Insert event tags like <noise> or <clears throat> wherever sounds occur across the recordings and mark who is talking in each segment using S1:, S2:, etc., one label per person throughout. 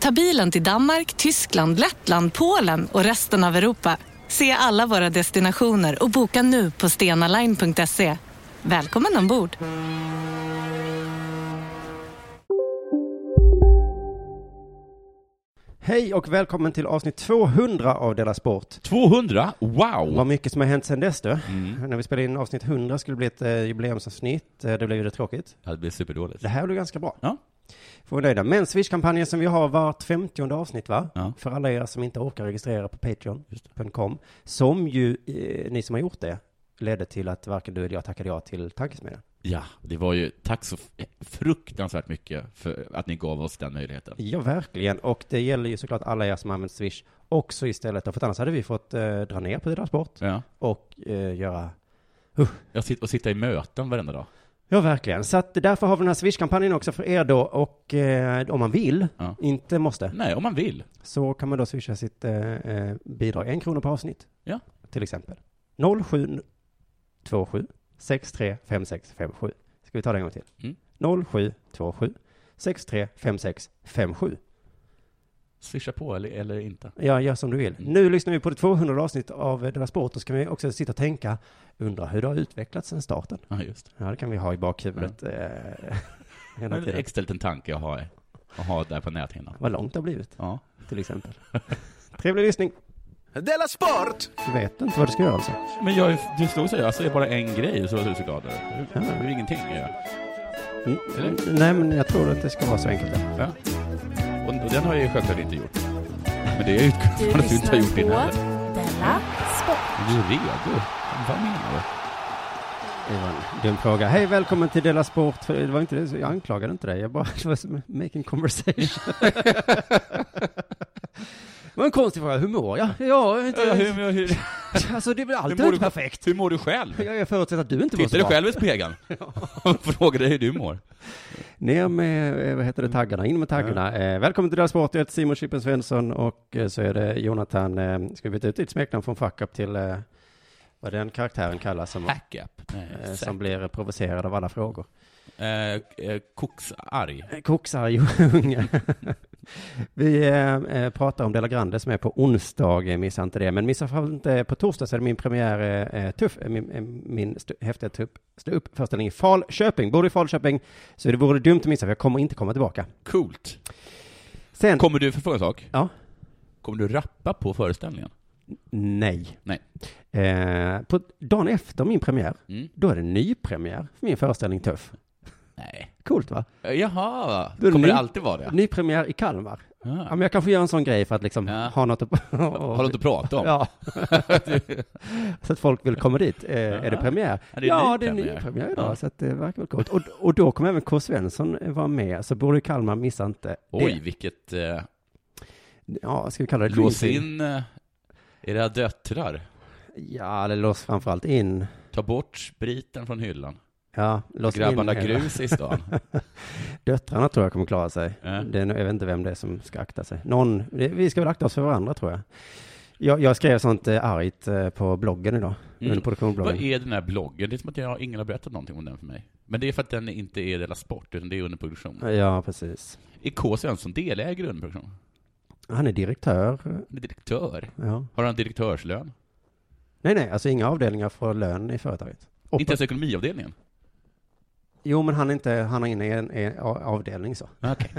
S1: Ta bilen till Danmark, Tyskland, Lettland, Polen och resten av Europa. Se alla våra destinationer och boka nu på stenaline.se. Välkommen ombord!
S2: Hej och välkommen till avsnitt 200 av Della Sport.
S3: 200? Wow!
S2: Vad mycket som har hänt sedan dess du.
S3: Mm.
S2: När vi spelade in avsnitt 100 skulle det bli ett eh, jubileumsavsnitt. Eh, Det blev ju rätt tråkigt.
S3: Ja, Det blir superdåligt.
S2: Det här blev ganska bra.
S3: Ja.
S2: Får vi nöjda. Men Swish-kampanjen som vi har vart 50 avsnitt va?
S3: Ja.
S2: För alla er som inte orkar registrera på Patreon.com. Som ju, eh, ni som har gjort det, ledde till att varken du eller jag tackade ja till tankesmedjan.
S3: ja, det var ju, tack så f- fruktansvärt mycket för att ni gav oss den möjligheten.
S2: Ja, verkligen. Och det gäller ju såklart alla er som har använt Swish också istället. För att annars hade vi fått eh, dra ner på det där sport
S3: Ja.
S2: och eh, göra
S3: Jag sitter och sitter i möten varenda dag.
S2: Ja, verkligen. Så att därför har vi den här Swish-kampanjen också för er då. Och eh, om man vill,
S3: Ja.
S2: inte måste,
S3: Nej, om man vill.
S2: så kan man då swisha sitt eh, eh, bidrag. En krona per avsnitt.
S3: Ja.
S2: Till exempel. 0727 635657. Ska vi ta det en gång till?
S3: Mm.
S2: 0727 635657.
S3: Swisha på eller, eller inte.
S2: Ja, gör som du vill.
S3: Mm.
S2: Nu lyssnar vi på det 200 avsnitt av eh, Della Sport och så kan vi också sitta och tänka, undra hur det har utvecklats sedan starten.
S3: Ja, just.
S2: Ja, det kan vi ha i bakhuvudet. Eh, <laughs>
S3: Det
S2: hela
S3: är en
S2: tiden.
S3: extra liten tanke jag har, att ha där på näthinnan.
S2: Vad långt det har blivit.
S3: Ja.
S2: till exempel. <laughs> Trevlig lyssning.
S4: Della Sport!
S2: Du vet inte vad du ska göra alltså.
S3: Men jag, du slog sig, alltså det är bara en grej så var du så glad över. Det är ju ingenting. Ja.
S2: Mm.
S3: Eller?
S2: Nej, men jag tror att det ska vara så enkelt. ja.
S3: Ja. Och, och den har jag ju självklart inte gjort. Men det är jag utgår från att du inte <laughs> har gjort din heller.
S5: Della Sport.
S3: Är du redo? Vad menar du?
S2: Det var en dum fråga. Hej, välkommen till Della Sport. För Det var inte det, jag anklagade inte dig. Jag bara <laughs> det var som making conversation. Det var en konstig fråga. Hur mår jag? Ja, inte,
S3: Ja, hur, hur, hur,
S2: alltså det blir alltid
S3: hur mår
S2: inte
S3: du-
S2: perfekt.
S3: hur mår du själv?
S2: Jag förutsätter att du inte mår
S3: Titta
S2: så
S3: dig
S2: bra.
S3: själv
S2: <laughs>
S3: i spegeln <laughs> och fråga dig hur du mår.
S2: Ner med, eh, vad heter det, taggarna, in med taggarna. Eh, välkommen till Della Sport, jag heter Simon Chippen Svensson och eh, så är det Jonathan, eh, ska vi byta ut ditt smeknamn från fuck up till eh, vad den karaktären kallas som,
S3: Hack-up.
S2: eh, som blir eh, provocerad av alla frågor.
S3: Eh, eh, koksarg.
S2: Eh, Koksar ju unge. vi eh, eh, pratar om Della Grande som är på onsdag, eh, missa inte det. Men missa fram inte, på torsdag så är det min premiär, eh, eh, tuff, eh, min, eh, min st- häftiga tuff, stå upp föreställning i Falköping. Bor du i Falköping så det vore dumt att missa för jag kommer inte komma tillbaka.
S3: Coolt.
S2: Sen,
S3: Kommer du, för fråga en sak?
S2: Ja.
S3: Kommer du rappa på föreställningen?
S2: Nej.
S3: Nej.
S2: Eh, på dagen efter min premiär,
S3: Mm.
S2: då är det nypremiär för min föreställning Tuff.
S3: Nej.
S2: Coolt va?
S3: Eh, Jaha.
S2: Då är det
S3: Kommer
S2: ny-
S3: det alltid vara det?
S2: Nypremiär i Kalmar. Ja,
S3: Ah.
S2: men jag kanske gör en sån grej för att liksom
S3: Ja.
S2: ha något att...
S3: Har du inte pratat om?
S2: Ja. <laughs> så att folk vill komma dit. Eh, Är det premiär?
S3: Ja, det är
S2: ja, det
S3: ny
S2: är
S3: premiär.
S2: nypremiär idag,
S3: Ja.
S2: så att det verkar väl coolt. Och, och då kommer även K. Svensson vara med, så bor du i Kalmar, missa inte
S3: Oj, vilket... Eh,
S2: det. Ja, ska vi kalla det
S3: lås
S2: green
S3: in eh, era döttrar.
S2: Ja, eller lås framförallt in.
S3: Ta bort spriten från hyllan.
S2: Ja, lås
S3: Grabbarna
S2: in hela-
S3: grus
S2: <laughs>
S3: i stan. Eh.
S2: Döttrarna tror jag kommer klara sig.
S3: Ja.
S2: Det är, nog- jag vet inte vem det är som ska akta sig. Någon, det- vi ska väl akta oss för varandra tror jag. Jag, jag skrev sånt eh, argt eh, på bloggen idag,
S3: Mm.
S2: under
S3: Vad
S2: produktionsbloggen.
S3: är den här bloggen? Det är som att jag, ingen har berättat någonting om den för mig. Men det är för att den inte är Della Sport, utan det är under produktion.
S2: Ja, precis.
S3: Är K. Svensson delägare i underproduktion?
S2: Han är direktör.
S3: Han är direktör.
S2: Ja.
S3: Har han direktörslön?
S2: Nej, nej, alltså inga avdelningar får lön i företaget. Och-
S3: Inte ens ekonomiavdelningen?
S2: Jo, men han är inte, han är inne i en, i en a- avdelning så. <laughs>
S3: Okej.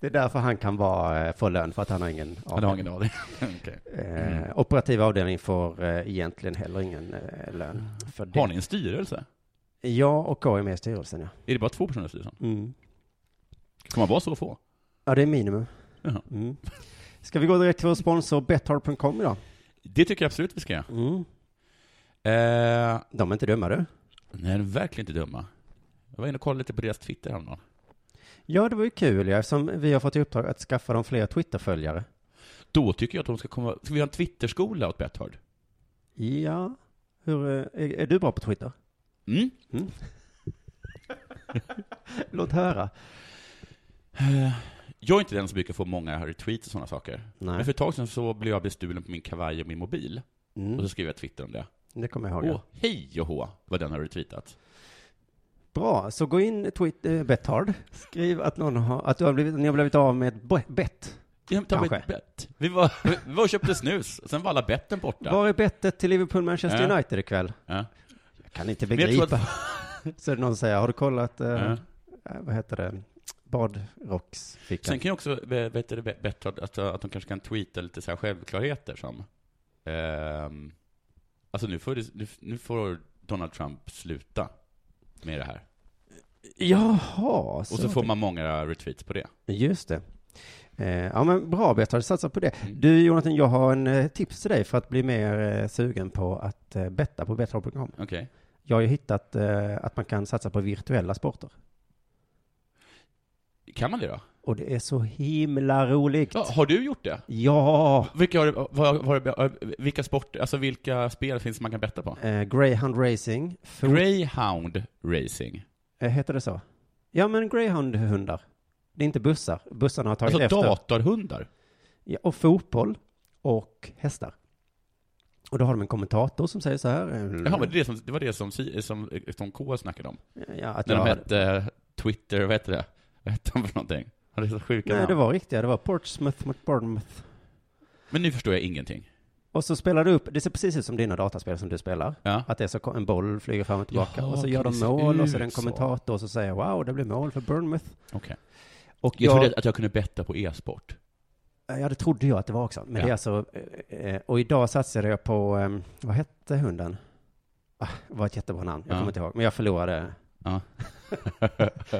S2: det är därför han kan vara, eh, få lön, för att han har ingen avdelning.
S3: Han har ingen aning. <laughs> Okej.
S2: Eh, operativa avdelningen får eh, egentligen heller ingen eh, lön. För det.
S3: Har ni en styrelse?
S2: Jag och K är med i styrelsen, ja.
S3: Är det bara två personer i styrelsen?
S2: Mm.
S3: Kan man vara så få?
S2: Ja, det är minimum. <laughs>
S3: Jaha.
S2: Mm. Ska vi gå direkt till vår sponsor Betthard.com idag?
S3: Det tycker jag absolut vi ska göra.
S2: Mm.
S3: Eh,
S2: De är inte dumma du.
S3: nej, de är verkligen inte dumma. Jag var inne och kollade lite på deras Twitter häromdagen.
S2: Ja, det var ju kul ja, eftersom vi har fått i uppdrag att skaffa dem fler Twitter-följare.
S3: Då tycker jag att de ska komma... Ska vi ha en Twitterskola åt Betthard?
S2: Ja, hur, eh, är, är du bra på Twitter?
S3: Mm.
S2: Låt höra.
S3: Jag är inte den som brukar få många retweets och sådana saker. Men
S2: Nej,
S3: för ett tag sedan så blev jag bestulen på min kavaj och min mobil. Och
S2: mm,
S3: så skrev jag Twitter om det.
S2: det kommer jag ihåg.
S3: Åh,
S2: Ja.
S3: hej och hå vad den har retweetat.
S2: Bra, så gå in Twitter, eh, Betthard. Skriv att, någon har, att du har blivit, ni har blivit av med ett bo- bett.
S3: Jag tar
S2: Kanske.
S3: ett bett. Vi var, <laughs> vi var och köpte snus, sen var alla betten borta.
S2: Var är bettet till Liverpool-Manchester
S3: Ja.
S2: United ikväll?
S3: Ja.
S2: Jag kan inte
S3: Men jag tror
S2: begripa. <laughs> Så är det någon som säger, har du kollat, eh,
S3: Ja.
S2: eh, vad heter det, badrocksfickan?
S3: Sen kan jag också veta det bättre att, att, att de kanske kan tweeta lite så här självklarheter som ehm, Alltså nu får, det, nu, nu får Donald Trump sluta med det här.
S2: Jaha,
S3: Och så får man många retweets på det.
S2: Just det. Eh, ja men bra Bert, har du satsat på det?
S3: Mm.
S2: Du Jonathan, jag har en eh, tips till dig för att bli mer eh, sugen på att eh, betta på betthard.com.
S3: Okej.
S2: Jag har ju hittat eh, att man kan satsa på virtuella sporter.
S3: Kan man det då?
S2: Och det är så himla roligt.
S3: Ja, har du gjort det?
S2: Ja!
S3: Vilka, har, du- vad, vad, vad, vilka sport, alltså vilka spel finns man kan betta på?
S2: Eh, Greyhound Racing. Fot-
S3: Greyhound Racing.
S2: eh, heter det så? Ja men Greyhound-hundar. Det är inte bussar. Bussarna har tagit
S3: Alltså
S2: efter.
S3: datorhundar.
S2: Ja, och fotboll och hästar. Och då har de en kommentator som säger så här. eh,
S3: Jaha, var det, det, som, det var det som, som, som, eh, som K snackade om?
S2: ja, att
S3: När
S2: jag hade-
S3: de hette eh, Twitter, vad hette det? Vad hette de för någonting? Han är så sjuka
S2: Nej,
S3: namn.
S2: det var riktiga. Det var Portsmouth mot Bournemouth.
S3: Men nu förstår jag ingenting.
S2: Och så spelar du upp, det ser precis ut som dina dataspel som du spelar.
S3: Ja.
S2: Att det är så en boll flyger fram och tillbaka
S3: Jaha,
S2: och så
S3: okej,
S2: gör
S3: det
S2: de
S3: ser
S2: mål och så
S3: ut
S2: är det en
S3: så.
S2: kommentator som säger wow, det blev mål för Bournemouth.
S3: Okej.
S2: Och
S3: Jag
S2: jag,
S3: trodde att jag kunde betta på e-sport. <laughs>
S2: Eh, ja, det trodde jag att det var också. Men
S3: Ja.
S2: det är alltså, eh, eh, och idag satsade jag på, eh, vad hette hunden? Ah, det var ett jättebra namn, jag
S3: Ja.
S2: kommer inte ihåg. Men jag förlorade.
S3: Ja.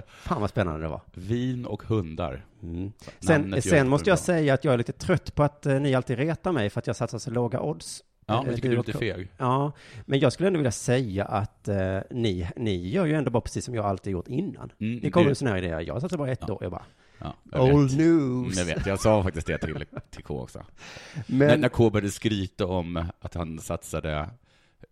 S2: Fan vad spännande det var.
S3: Vin och hundar.
S2: Mm. Sen,
S3: Namnet
S2: sen
S3: gör
S2: måste
S3: det
S2: jag
S3: bra.
S2: säga att jag är lite trött på att eh, ni alltid retar mig för att jag satsar så låga odds.
S3: Ja,
S2: Eh,
S3: men jag tycker du är
S2: och
S3: lite feg.
S2: Ja, men jag skulle ändå vilja säga att eh, ni, ni gör ju ändå bara precis som jag alltid gjort innan.
S3: Mm,
S2: ni kommer
S3: det-
S2: med sådana här idéer, jag satsar bara ett år, jag bara,
S3: Ja, jag vet.
S2: old
S3: Mm,
S2: news.
S3: Jag vet, jag sa faktiskt det till, till K också. När,
S2: Men,
S3: när K började skryta om att han satsade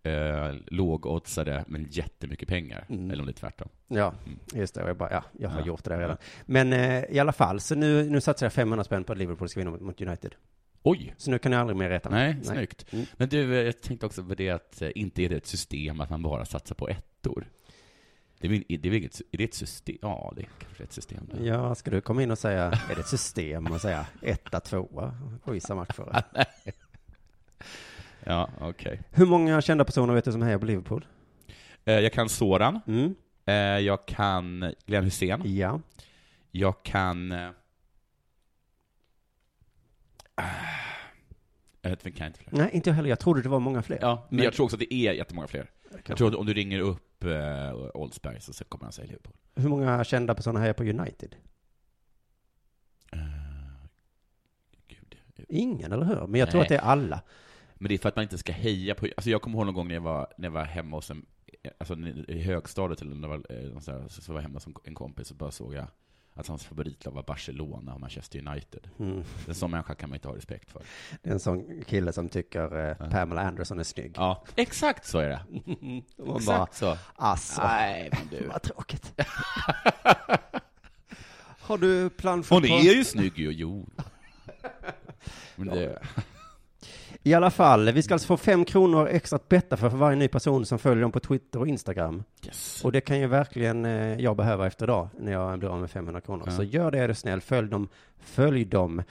S3: eh, lågoddsade, men jättemycket pengar.
S2: Mm.
S3: Eller om det är tvärtom.
S2: ja, just det, och jag bara, ja, jag har
S3: Mm. Ja.
S2: gjort det där redan. Men eh, i alla fall, så nu, nu satsar jag 500 spänn på att Liverpool ska vinna mot- mot United.
S3: Oj!
S2: Så nu kan ni aldrig mer reta mig.
S3: Nej, snyggt. Men du, eh, jag tänkte också på det att eh, inte är det ett system att man bara satsar på ettor. Det är, väl- det är, väl inget, är det ett system? Ja, det är kanske ett system. där.
S2: Ja, ska du komma in och säga, är det ett system och säga etta, tvåa och gissa
S3: <laughs>
S2: matchförare?
S3: Ja, okej.
S2: Hur många kända personer vet du som hejar på Liverpool?
S3: Eh, Jag kan Soran.
S2: Mm,
S3: Eh, Jag kan Glenn Hussein.
S2: ja.
S3: Jag kan... eh, ah, Jag vet inte, kan jag inte fler.
S2: Nej, inte jag heller. Jag trodde det var många fler.
S3: Ja, men
S2: Men-
S3: jag tror också att det är jättemånga fler. Jag tror att om du ringer upp eh, Oldsberg så så kommer han säga Liverpool.
S2: Hur många kända personer hejar på United?
S3: Eh. Gud.
S2: Ingen, eller hur? Men jag tror
S3: Nej.
S2: att det är alla.
S3: Men det är för att man inte ska heja på... Alltså jag kommer ihåg någon gång när jag var, när jag var hemma hos en... Alltså i högstadiet eller när jag var, eh, någonstans där, så, så var jag hemma som en kompis och bara såg jag att hans favoritlag var Barcelona och Manchester United.
S2: Mm.
S3: En sån människa kan man inte ha respekt för.
S2: Det är en sån kille som tycker eh, Pamela Anderson är snygg.
S3: Ja, exakt så är <laughs> det.
S2: Och man bara,
S3: Exakt så.
S2: alltså,
S3: Nej, men du.
S2: vad tråkigt. <laughs> Har du plan för...
S3: Hon är ju snygg ju, jo. <laughs> Men det,
S2: I alla fall, vi ska alltså få fem kronor extra att betta för, för varje ny person som följer dem på Twitter och Instagram.
S3: yes.
S2: Och det kan ju verkligen eh, jag behöva efter idag när jag blir av med 500 kronor. Så gör det är du snäll, följ dem, följ dem.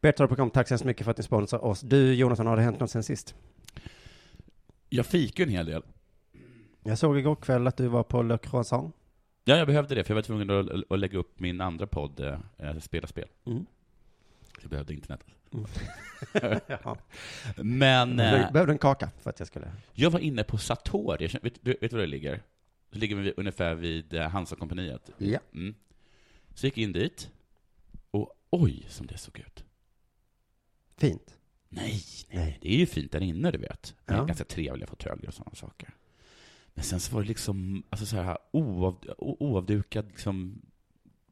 S2: Betthard.com, tack så hemskt mycket för att ni sponsrar oss. Du Jonathan, har det hänt något sen sist?
S3: Jag fick ju en hel del.
S2: Jag såg igår kväll att du var på Le
S3: <laughs>
S2: Croissant.
S3: Ja, jag behövde det, för jag var tvungen att, att lägga upp min andra podd, eh, Spela spel.
S2: Mm.
S3: Så jag behövde internet.
S2: Ja.
S3: Men... eh,
S2: Jag behövde en kaka för att jag skulle...
S3: Jag var inne på Satori, Jag känner- vet, du- vet du var det ligger? Det ligger vid, ungefär vid eh, Hansa-kompaniet.
S2: Ja.
S3: Mm. Så gick jag in dit, och oj som det såg ut.
S2: Fint.
S3: Nej,
S2: Nej.
S3: nej, det är ju fint där inne, du vet. Det är
S2: Ja.
S3: ganska trevliga fåtöljer och sådana saker. Men sen så var det liksom, alltså så här oav, o- oavdukad liksom,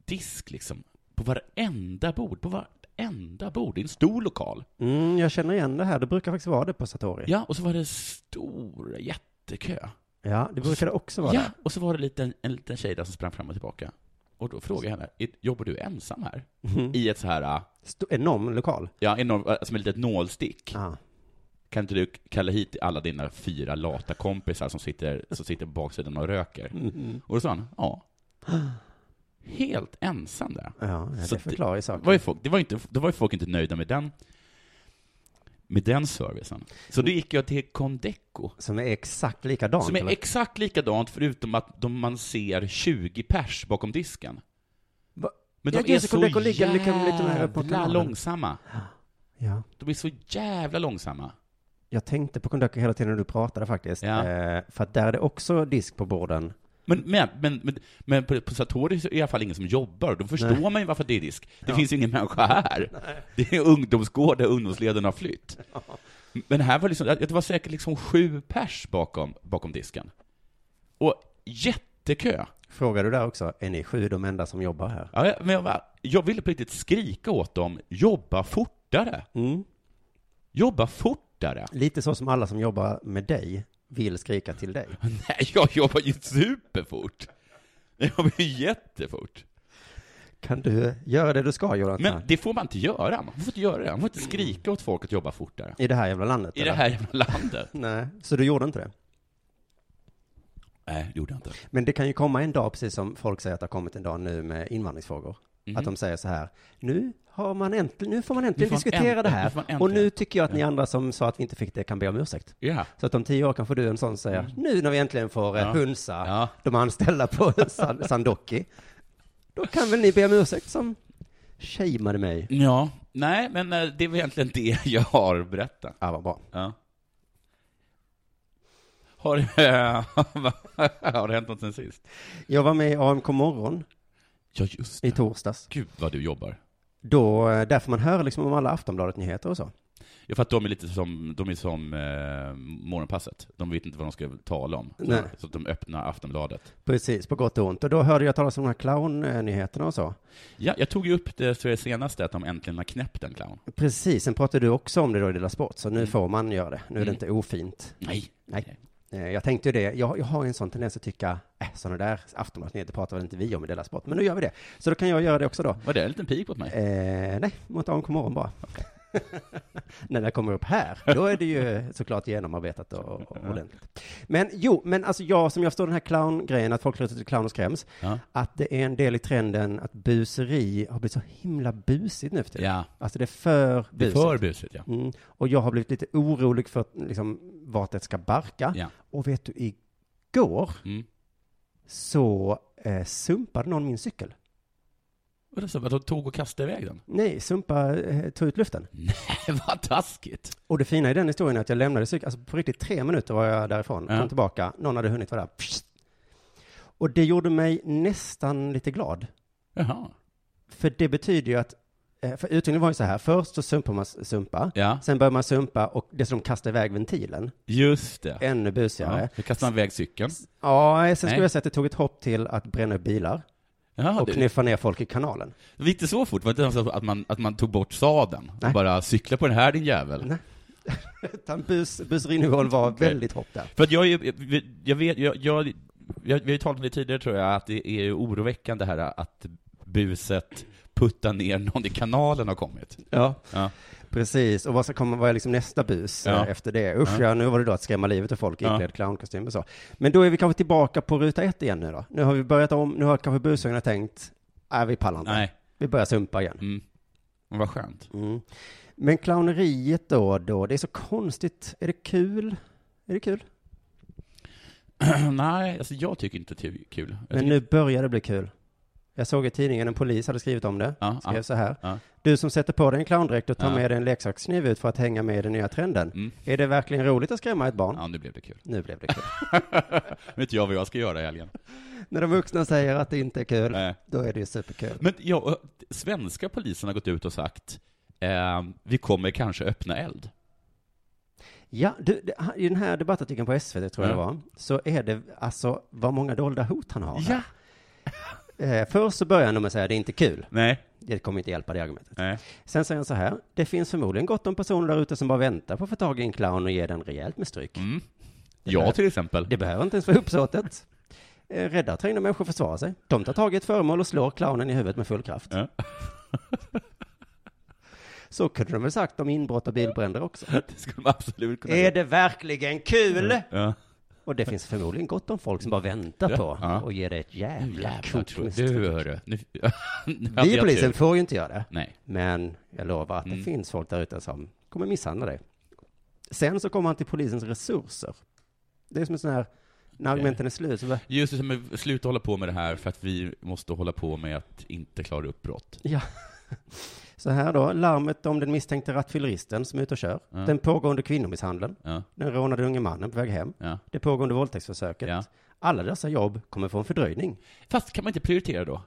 S3: disk liksom. På varenda bord, på varenda bord. Det är en stor lokal.
S2: Mm, jag känner igen det här. Det brukar faktiskt vara det på Satori.
S3: Ja, och så var det stor jättekö.
S2: Ja, det brukar det också vara.
S3: Ja, och så var det lite, en liten tjej där som sprang fram och tillbaka. Och då frågade jag henne, "Är- jobbar du ensam här?
S2: Mm.
S3: I ett så här, äh,
S2: Sto- enorm lokal.
S3: ja, enorm, äh, som ett litet nålstick.
S2: Ja.
S3: Kan inte du kalla hit alla dina fyra lata kompisar som sitter, som sitter på baksidan och röker?
S2: Mm.
S3: Och då sa han, ja. Helt ensam där.
S2: Ja, ja,
S3: Så
S2: det
S3: det-
S2: förklarar ju
S3: Det var
S2: saken.
S3: ju folk, det var inte, det var ju folk inte nöjda med den, med den servicen. Så då gick jag till Condeco,
S2: Som är exakt likadant.
S3: som är
S2: eller?
S3: exakt likadant förutom att de, man ser 20 pers bakom disken.
S2: Va?
S3: Men
S2: Ja,
S3: de är
S2: just det, Condeco
S3: så
S2: ligger liksom lite nära uppåt
S3: jävla
S2: kanalen.
S3: långsamma.
S2: ja.
S3: De är så jävla långsamma.
S2: Jag tänkte på Kondoka hela tiden när du pratade faktiskt.
S3: Ja.
S2: Eh, för att där är det också disk på borden.
S3: Men, men, men, men, men på, på Satori så är det i alla fall ingen som jobbar, och då förstår man ju varför det är disk. Det finns ju ingen människa här. Det är ungdomsgård där ungdomsledarna har flytt. Men här var liksom, det var säkert liksom sju pers bakom, bakom disken. Och jättekö.
S2: Frågar du där också, är ni sju de enda som jobbar här?
S3: Ja, jag- men jag, bara, jag ville på riktigt skrika åt dem, jobba fortare!
S2: Mm.
S3: Jobba fortare!
S2: Lite så som alla som jobbar med dig vill skrika till dig.
S3: <laughs> Nej, jag jobbar ju superfort! Jag jobbar ju jättefort!
S2: Kan du göra det du ska, Jonathan?
S3: Men det får man inte göra. Man får inte göra det. Man får inte skrika åt folk att jobba fortare.
S2: I det här jävla landet?
S3: I det
S2: eller?
S3: här jävla landet.
S2: Nej, så du gjorde inte det?
S3: Nej, det gjorde jag inte.
S2: Men det kan ju komma en dag, precis som folk säger att det har kommit en dag nu med invandringsfrågor. Att de säger så här, nu, har man äntligen, nu får man äntligen
S3: Mhm. Nu får man
S2: diskutera det
S3: äntligen- nu får
S2: här.
S3: man
S2: och nu
S3: äntligen."
S2: tycker jag att ni andra som sa att vi inte fick det kan be om ursäkt.
S3: Ja.
S2: Så att om tio år kanske du är en sån som säger, nu när vi äntligen får ja.
S3: Mm. Ja.
S2: hunsa
S3: Ja.
S2: de anställda på <laughs> San- Sandocki, då kan väl ni be om ursäkt som shameade mig.
S3: Ja. Nej, men eh, det är väl egentligen det <laughs> jag har att berätta.
S2: Ja, vad bra.
S3: Ja. Har, <laughs> eh, har det hänt något sen sist?
S2: Jag var med i AMK morgon
S3: Ja, just
S2: i
S3: det.
S2: torsdags.
S3: Gud vad du jobbar.
S2: Då, eh, där får man höra liksom om alla Aftonbladet-nyheter och så.
S3: Ja, för att de är lite som, de är som eh, morgonpasset. De vet inte vad de ska tala om. Så,
S2: Nej.
S3: så att de öppnar Aftonbladet.
S2: Precis, på gott och ont. Och då hörde jag talas om de här clownnyheterna och så.
S3: Ja, jag tog ju upp det så det senaste, att de äntligen har knäppt en clown.
S2: Precis, sen pratade du också om det då i Dela Sport, så nu får man göra det. Nu är det
S3: Mm.
S2: inte ofint.
S3: Nej.
S2: Nej. Eh, Jag tänkte ju det, jag, jag har en sån tendens att tycka, äh, sådana där Aftonbladet-nyheter pratar väl inte vi om i Dela Sport, men nu gör vi det. Så då kan jag göra det också då.
S3: Var det en liten pik mot mig?
S2: Eh, nej, mot AMK morgon bara. <laughs> När det kommer upp här, då är det ju såklart genomarbetat och, och ordentligt. Men jo, men alltså jag som jag förstår den här clowngrejen, att folk klär ut sig till clown och skräms,
S3: Ja.
S2: att det är en del i trenden att buseri har blivit så himla busigt nu för tiden.
S3: Ja.
S2: Alltså det är för
S3: Det är
S2: busigt.
S3: för busigt, ja.
S2: Mm. Och jag har blivit lite orolig för liksom, vart det ska barka.
S3: Ja.
S2: Och vet du, igår
S3: Mm.
S2: så eh, sumpade någon min cykel.
S3: Och då så, vad, de tog och kastade
S2: <laughs>
S3: iväg den?
S2: Nej, sumpa, eh, tog ut luften.
S3: Nej, vad taskigt!
S2: Och det fina i den historien är att jag lämnade cykeln, alltså på riktigt tre minuter var jag därifrån,
S3: Ja.
S2: kom tillbaka, någon hade hunnit vara där. Psst. Och det gjorde mig nästan lite glad.
S3: Jaha.
S2: För det betyder ju att, eh, för utvecklingen var ju så här, först så sumpar man sumpa,
S3: Ja,
S2: sen börjar man sumpa och dessutom kasta iväg ventilen,
S3: just det.
S2: ännu busigare.
S3: Ja. Då kastade han iväg cykeln.
S2: Ja, sen
S3: Nej.
S2: skulle jag säga att det tog ett hopp till att bränna upp bilar
S3: Jaha,
S2: och
S3: det
S2: knuffa ner folk i kanalen.
S3: det gick inte så fort? Var det inte så att man, att man tog bort sadeln och
S2: Nej.
S3: bara cykla på den här din jävel?
S2: Nej. Utan bus, busrinnivån var
S3: Okej.
S2: väldigt hopp där.
S3: För att jag, är- jag, jag vet, jag, jag, jag, vi har ju talat om det tidigare tror jag, att det är oroväckande här att buset putta ner någon i kanalen har kommit.
S2: Ja.
S3: Ja.
S2: Precis, och vad ska komma, vad är liksom nästa bus
S3: Ja.
S2: eh, efter det? Usch, ja. nu var det då att skrämma livet av folk i
S3: Ja.
S2: iklädd clownkostym och så. Men då är vi kanske tillbaka på ruta ett igen nu då. Nu har vi börjat om, nu har kanske busögarna tänkt, nej vi pallar inte.
S3: Nej.
S2: Vi börjar sumpa igen.
S3: Mm. Men Vad skönt. <clears throat>
S2: Mm. Men clowneriet då, då, det är så konstigt. Är det kul? Är det kul?
S3: Nej, alltså jag tycker inte att det är kul. Jag
S2: Men
S3: tycker-
S2: nu börjar det bli kul. Jag såg i tidningen, en polis hade skrivit om det.
S3: Ja,
S2: Skrev
S3: ja,
S2: så här.
S3: ja.
S2: Du som sätter på dig en clowndräkt och tar
S3: Ja.
S2: med dig en leksakskniv ut för att hänga med i den nya trenden.
S3: Mm.
S2: Är det verkligen roligt att skrämma ett barn?
S3: Ja, nu blev det kul. <laughs>
S2: Nu blev det kul.
S3: Vet jag vad jag ska göra i helgen?
S2: <laughs>
S3: Eh,
S2: När de vuxna säger att det inte är kul,
S3: Nej.
S2: då är det ju superkul.
S3: Men ja, svenska polisen har gått ut och sagt Eh, vi kommer kanske öppna eld.
S2: Ja, du, det- han- i den här debattartikeln på SVT, tror jag
S3: Ja.
S2: det var, så är det alltså vad många dolda hot han har.
S3: Ja.
S2: Eh, först så börjar han med att säga det är inte kul.
S3: Nej.
S2: Det kommer inte hjälpa det argumentet.
S3: Nej.
S2: Sen säger han så här, det finns förmodligen gott om personer där ute som bara väntar på att få tag i en clown och ge den rejält med stryk.
S3: Mm.
S2: där-
S3: Jag till exempel.
S2: Det behöver inte ens vara uppsåtet. Eh, Rädda trängda människor försvarar sig. De tar tag i ett föremål och slår clownen i huvudet med full kraft.
S3: Ja.
S2: <laughs> Så kunde de väl sagt om inbrott och bilbränder också.
S3: <laughs> Det skulle man absolut kunna
S2: Är
S3: göra.
S2: det verkligen kul?
S3: Ja.
S2: Och det finns förmodligen gott om folk som bara väntar
S3: Mm. Ja.
S2: på
S3: Ja.
S2: och ger dig ett jävla
S3: Jävlar,
S2: kok
S3: tror
S2: med
S3: du.
S2: stryk.
S3: hörru. Nu, <laughs> nu hade
S2: Vi i
S3: jag
S2: polisen
S3: tur.
S2: får ju inte göra det.
S3: Nej.
S2: Men jag lovar att det
S3: Mm.
S2: finns folk där ute som kommer misshandla dig. Sen så kommer han till polisens resurser. Det är som en sån här, när argumenten är slut så bara,
S3: Just det, men sluta hålla på med det här för att vi måste hålla på med att inte klara upp brott.
S2: ja. Så här då, larmet om den misstänkte rattfylleristen som är ute och kör,
S3: Ja.
S2: den pågående kvinnomisshandeln,
S3: Ja,
S2: den rånade unge mannen på väg hem,
S3: ja,
S2: det pågående våldtäktsförsöket.
S3: ja.
S2: Alla dessa jobb kommer få en fördröjning.
S3: Fast kan man inte prioritera då?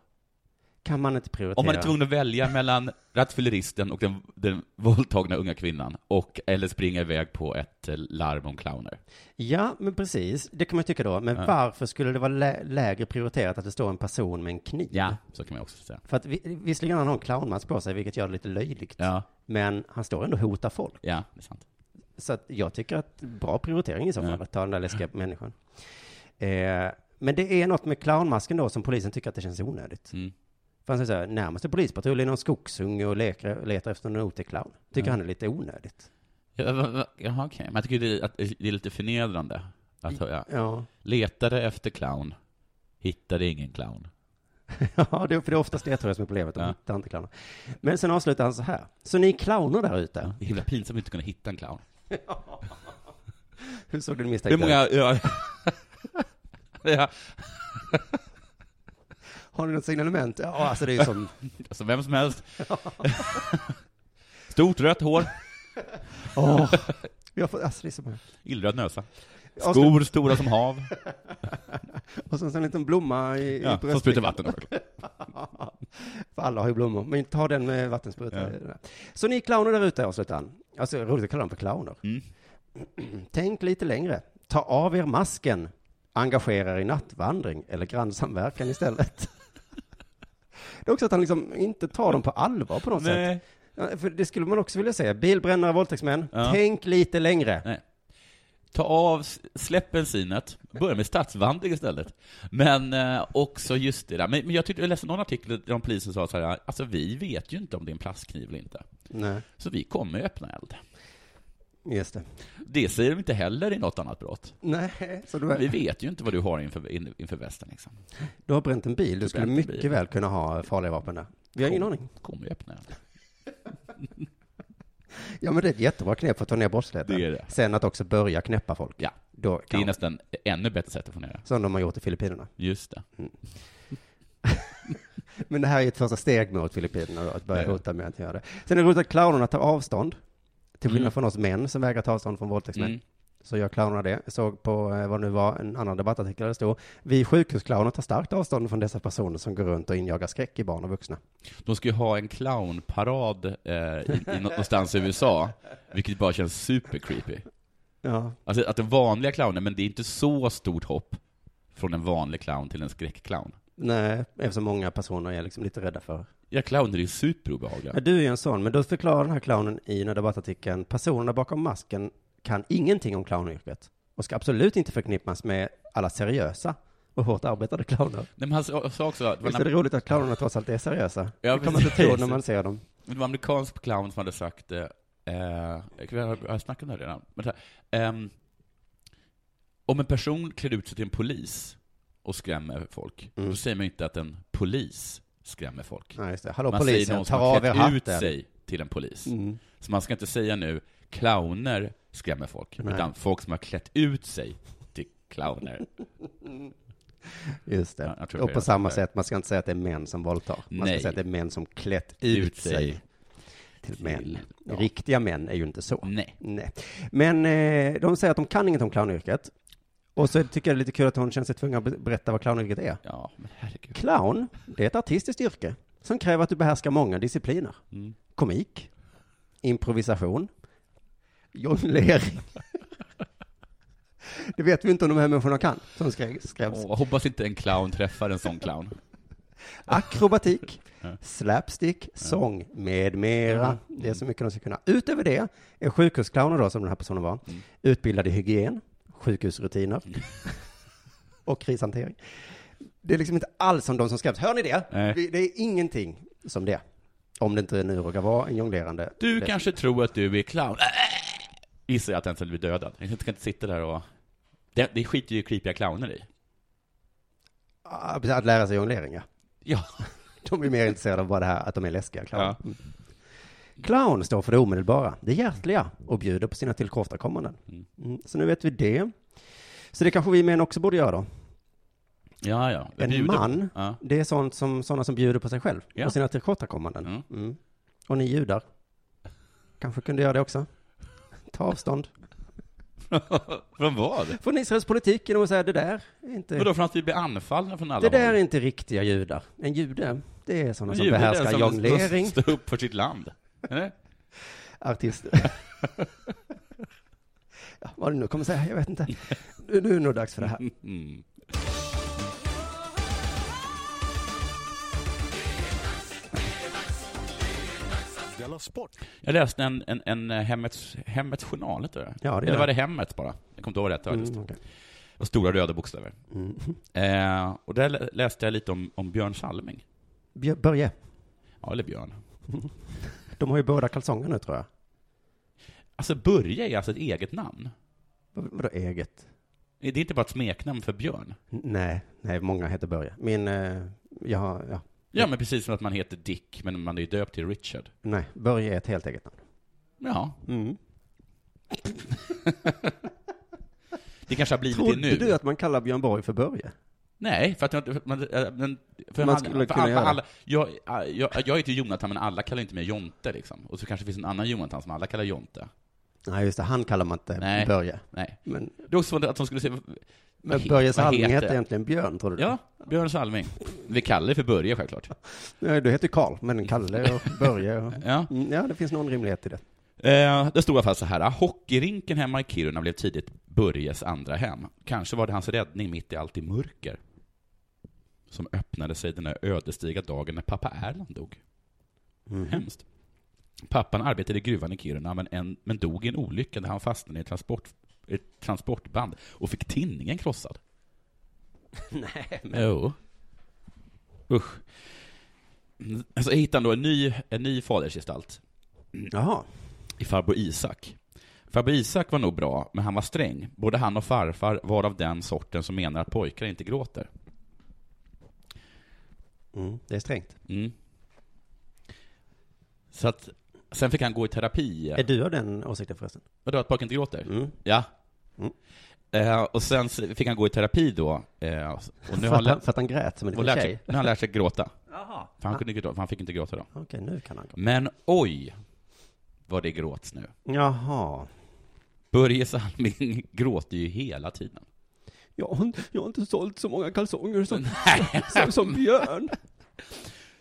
S2: Kan man inte prioritera?
S3: Om man är tvungen att välja mellan rattfylleristen och den, den våldtagna unga kvinnan, och, eller springa iväg på ett eh, larm om clowner.
S2: Ja, men precis. Det kan man ju tycka då. Men
S3: Ja.
S2: varför skulle det vara lä- lägre prioriterat att det står en person med en kniv?
S3: Ja, så kan man också säga.
S2: För att vi, visserligen har han en clownmask på sig, vilket gör det lite löjligt.
S3: Ja,
S2: Men han står ändå och hotar folk.
S3: ja, det är sant.
S2: Så att jag tycker att bra prioritering i så fall,
S3: Ja.
S2: att ta den där läskiga människan. Eh, men det är något med clownmasken då som polisen tycker att det känns onödigt.
S3: Mm.
S2: För han säger så här, närmaste polispatrull är någon skogsunge och leker, letar efter en OT-clown. Tycker
S3: Ja.
S2: han är lite onödigt.
S3: Ja, va- va- Jaha, okej. Men jag tycker det är, att det är lite förnedrande.
S2: Mm.
S3: Att höra.
S2: Ja,
S3: Letade efter clown, hittade ingen clown.
S2: <laughs> ja det, för det är oftast det tror jag som är problemet, de
S3: Ja.
S2: hittar inte clowner. Men sen avslutar han så här, så ni clowner där ute,
S3: Det är himla pinsamt att inte kunna hitta en clown.
S2: hur såg du misstänkta
S3: Hur många... Ja, <laughs> ja,
S2: Har ni något signalement? Ja, alltså det är ju
S3: <laughs>
S2: som...
S3: alltså vem som helst. <laughs> Stort rött hår,
S2: Åh, vi har fått, alltså det är så många.
S3: illröd näsa.
S2: Ja,
S3: Skor stora som <laughs> hav.
S2: Och sen så en liten blomma i, i
S3: Ja, som
S2: bröstfickan.
S3: sprutar vatten över.
S2: För alla har ju blommor, men ta den med vattenspruta. Så ni clowner där ute, avslutar han. Alltså, roligt att kalla dem för clowner.
S3: Mm.
S2: <clears throat> Tänk lite längre. Ta av er masken. Engagera er i nattvandring eller grannsamverkan istället. <laughs> Det är också att han liksom inte tar dem på allvar på något sätt.
S3: <laughs> Nej.
S2: Ja, För det skulle man också vilja säga. Bilbrännare, våldtäktsmän.
S3: Ja.
S2: Tänk lite längre.
S3: Nej. Ta av, s- släpp bensinet, börja med stadsvandring istället. Men eh, också just det där. Men, men jag tyckte, jag läste någon artikel där om polisen sa så här, alltså vi vet ju inte om det är en plastkniv eller inte.
S2: Nej,
S3: Så vi kommer öppna eld.
S2: just det.
S3: Det säger de inte heller i något annat brott.
S2: Nej, så du,
S3: Vi vet ju inte vad du har inför, in- inför västen liksom.
S2: du har bränt en bil. Du skulle
S3: bränt en
S2: mycket
S3: bil.
S2: väl kunna ha farliga vapen där. Vi har ingen aning.
S3: Kommer ju
S2: <laughs>
S3: öppna eld.
S2: Ja men det är ett jättebra knep för att ta ner brottsligheten.
S3: Det är det.
S2: Sen att också börja knäppa folk.
S3: Ja,
S2: Då
S3: det
S2: kan,
S3: är nästan ännu bättre sätt att få ner det.
S2: Som de har gjort i Filippinerna.
S3: Just det.
S2: Men det här är ett första steg mot Filippinerna då, att börja
S3: Ja, ja.
S2: hota med att göra det. Sen är det roligt att clownerna tar avstånd. Till skillnad från oss män som vägrar ta avstånd från våldtäktsmän.
S3: Mm.
S2: Så gör clownerna det. Jag såg på eh, vad det nu var, en annan debattartikel där det stod, vi sjukhusclowner tar starkt avstånd från dessa personer som går runt och injagar skräck i barn och vuxna.
S3: De ska ju ha en clownparad eh, i, i någonstans i USA, vilket bara känns super creepy.
S2: Ja,
S3: Alltså att den vanliga clownen, men det är inte så stort hopp från en vanlig clown till en skräckclown.
S2: nej, eftersom många personer är liksom lite rädda för
S3: Ja, clowner är ju superobehagliga.
S2: Ja, du är ju en sån, men då förklarar den här clownen i den här debattartikeln, personerna bakom masken kan ingenting om clownyrket och ska absolut inte förknippas med alla seriösa och hårt arbetade clowner.
S3: Nej, men han sa sa också att det
S2: Visst
S3: var
S2: är
S3: en,
S2: det roligt att clownerna trots allt är seriösa?
S3: Ja,
S2: det kan man inte
S3: precis.
S2: tro när man ser dem.
S3: det var en amerikansk clown som hade sagt, eh, eh, jag har jag har snackat om det här redan, men så här, ehm, om en person klär ut sig till en polis och skrämmer folk,
S2: Mm.
S3: då säger man ju inte att en polis skrämmer folk.
S2: Nej, just det. Hallå
S3: man säger
S2: polisen,
S3: någon som
S2: ta
S3: har
S2: av er
S3: klätt ut
S2: hatten.
S3: sig till en polis.
S2: Mm.
S3: Så man ska inte säga nu, clowner skrämmer folk,
S2: Nej.
S3: utan folk som har klätt ut sig till clowner.
S2: Just
S3: Ja,
S2: det.
S3: jag tror
S2: och
S3: det
S2: på
S3: är
S2: samma
S3: det.
S2: sätt, man ska inte säga att det är män som våldtar. Man ska
S3: Nej.
S2: säga att det är män som klätt ut sig till män.
S3: till- ja.
S2: Riktiga män är ju inte så.
S3: Nej.
S2: Nej. Men eh, de säger att de kan inget om clownyrket. Och så tycker jag det är lite kul att hon känner sig tvungen att be- berätta vad clownyrket är.
S3: Ja, men herregud.
S2: Clown, det är ett artistiskt yrke som kräver att du behärskar många discipliner. Komik, improvisation, jonglering. Det vet vi inte om de här människorna kan, som skrev- skrevs.
S3: Åh, hoppas inte en clown träffar en sån clown. <laughs>
S2: Akrobatik, slapstick, sång med mera. Det är
S3: Mm.
S2: så mycket de ska kunna. Utöver det är sjukhusclowner då, som den här personen var,
S3: Mm.
S2: utbildad i hygien,
S3: <laughs>
S2: sjukhusrutiner och krishantering. Det är liksom inte alls som de som skrevs. Hör ni det?
S3: Nej.
S2: Vi- Det är ingenting som det. Om det inte nu råkar vara en jonglerande.
S3: Du
S2: det.
S3: kanske tror att du är clown. Äh, Gissar jag att den sen blir dödad. Jag ska inte sitta där och... Det, det skiter ju creepiga clowner i.
S2: Ah, precis, Att lära sig jonglering, ja.
S3: Ja.
S2: De är mer intresserade av bara det här att de är läskiga clowner.
S3: Ja.
S2: Mm. Clown står för det omedelbara, det hjärtliga och bjuder på sina tillkortakommanden. Mm. Så nu vet vi det. Så det kanske vi män också borde göra då.
S3: Ja, ja. Jag
S2: En
S3: bjuder på-
S2: man,
S3: Ja.
S2: det är sånt som, sådana som bjuder på sig själv
S3: Ja.
S2: och sina tillkortakommanden.
S3: Mm.
S2: Mm. Och ni judar, kanske kunde göra det också. Ta avstånd
S3: Från vad?
S2: från Israels politik genom att säga det där är inte...
S3: Vadå, från att vi blir anfallna från alla
S2: det där
S3: håll?
S2: är inte riktiga judar. En jude, det är sådana
S3: En
S2: som
S3: jude är den
S2: behärskar
S3: som
S2: jonglering.
S3: Står upp för sitt land. Eller?
S2: <laughs> artister. ja, vad du nu kommer säga, jag vet inte. Nu, nu är det nog dags för <laughs> det här.
S3: Mm.
S4: Della Sport.
S3: Jag läste en, en, en eh, hemmets, hemmets journal, heter det?
S2: Ja, det
S3: Eller
S2: är
S3: var
S2: det.
S3: det Hemmet bara? Jag kommer inte ihåg rätt. Mm.
S2: Mm, okej.
S3: Och stora röda bokstäver.
S2: Mm.
S3: Eh, och där lä- läste jag lite om, om Björn Salming.
S2: Björ- Börje,
S3: Ja, eller Björn.
S2: de har ju båda kalsonger nu tror jag.
S3: Alltså, Börje är alltså ett eget namn.
S2: Vad- Vadå eget?
S3: Det är inte bara ett smeknamn för Björn.
S2: N- Nej, nej, många heter Börje. Min, eh, jag har, ja,
S3: Ja, men precis som att man heter Dick, men man är ju döpt till Richard.
S2: nej, Börje är ett helt eget namn.
S3: Ja.
S2: Mm.
S3: Det kanske har blivit det
S2: Trodde
S3: nu.
S2: du att man kallar Björn Borg för Börje?
S3: Nej, för att jag inte- för att man, äh, men- för
S2: Man
S3: han-
S2: skulle
S3: för
S2: kunna
S3: alla,
S2: göra det.
S3: alla, jag, äh, jag, jag heter Jonathan, men alla kallar inte mig Jonte liksom. Och så kanske det finns en annan Jonathan som alla kallar Jonte.
S2: Nej, just det, han kallar man inte
S3: Nej.
S2: Börje.
S3: Nej.
S2: Men,
S3: Det är också som att de skulle se...
S2: men
S3: he-
S2: Börjes
S3: vad
S2: Alming
S3: heter
S2: heter
S3: jag?
S2: egentligen Björn, tror du?
S3: Ja, Björn Salming. Vi kallar det för Börje självklart.
S2: Nej, Du heter Karl, men Kalle
S3: <laughs>
S2: och Börje och...
S3: Ja.
S2: Mm, Ja, det finns någon rimlighet i det.
S3: Eh, det stod i alla fall så här. Hockeyrinken hemma i Kiruna blev tidigt Börjes andra hem. Kanske var det hans räddning mitt i allt i mörker. Som öppnade sig den där ödesdigra dagen när pappa Erland dog. Hemskt. Pappan arbetade i gruvan i Kiruna men, en, men dog i en olycka när han fastnade i ett, transport, ett transportband och fick tinningen krossad. <laughs> Nej men... Jo. Usch. Så hittade han då en ny, en ny fadersgestalt Mm.
S2: Jaha.
S3: i farbror Isak. Farbror Isak var nog bra, men han var sträng. Både han och farfar var av den sorten som menar att pojkar inte gråter.
S2: Mm, det är strängt.
S3: Mm. Så att, sen fick han gå i terapi.
S2: Är du av den åsikten förresten?
S3: Vadå, att pojkar inte gråter?
S2: Mm.
S3: Ja. Eh, och sen s- fick han gå i terapi då. Eh, och
S2: för,
S3: nu har
S2: <laughs> att
S3: han,
S2: han,
S3: lä-
S2: för att han grät som en
S3: och
S2: liten
S3: lärt
S2: tjej?
S3: sig, nu har han lärt sig gråta. För han, kunde inte gråta, för han fick inte gråta då.
S2: Okej, nu kan han gråta.
S3: Men oj, vad det gråts nu.
S2: Jaha.
S3: Börje Salming <laughs> gråter ju hela tiden.
S2: Jag har, jag har inte sålt så många kalsonger som,
S3: Nej.
S2: som, <laughs> som Björn.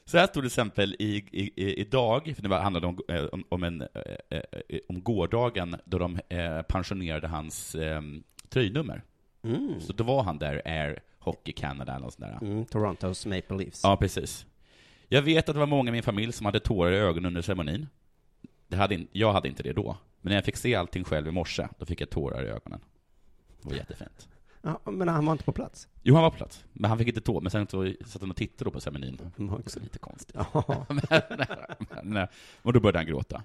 S3: Så här stod det till exempel i, i, i, idag, för det var- handlade om, eh, om, om, en, eh, eh, eh, om gårdagen då de eh, pensionerade hans eh, tröjnummer.
S2: Mm.
S3: Så då var han där, Air Hockey Canada eller något sånt där.
S2: Mm, Torontos Maple Leafs.
S3: Ja, precis. Jag vet att det var många i min familj som hade tårar i ögonen under ceremonin. Det hade in, jag hade inte det då. Men när jag fick se allting själv i morse, då fick jag tårar i ögonen. Det var jättefint.
S2: Ja, men han var inte på plats.
S3: Jo, han var på plats. Men han fick inte tårar. Men sen så satt han och tittade då på ceremonin. Det
S2: Mm,
S3: var
S2: också.
S3: också lite konstigt.
S2: Ja.
S3: Men, eh, och då började han gråta.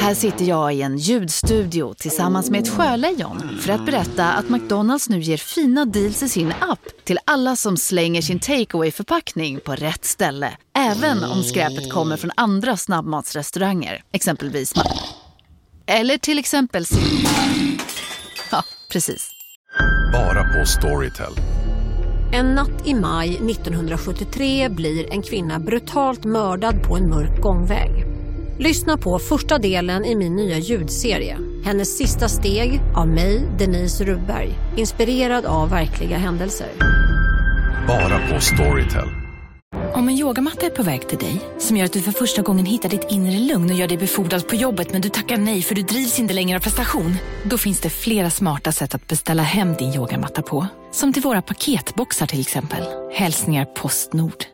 S6: Här sitter jag i en ljudstudio tillsammans med ett sjölejon för att berätta att McDonalds nu ger fina deals i sin app till alla som slänger sin takeaway förpackning på rätt ställe. Även om skräpet kommer från andra snabbmatsrestauranger, exempelvis Ma- Eller till exempel Sim- Ja, precis.
S4: Bara på Storytel.
S7: En natt i maj 1973 blir en kvinna brutalt mördad på en mörk gångväg. Lyssna på första delen i min nya ljudserie. Hennes sista steg av mig, Denise Rubberg. Inspirerad av verkliga händelser.
S4: Bara på Storytel.
S8: Om en yogamatta är på väg till dig, som gör att du för första gången hittar ditt inre lugn och gör dig befordrad på jobbet men du tackar nej för du drivs inte längre av prestation. Då finns det flera smarta sätt att beställa hem din yogamatta på. Som till våra paketboxar till exempel. Hälsningar Postnord.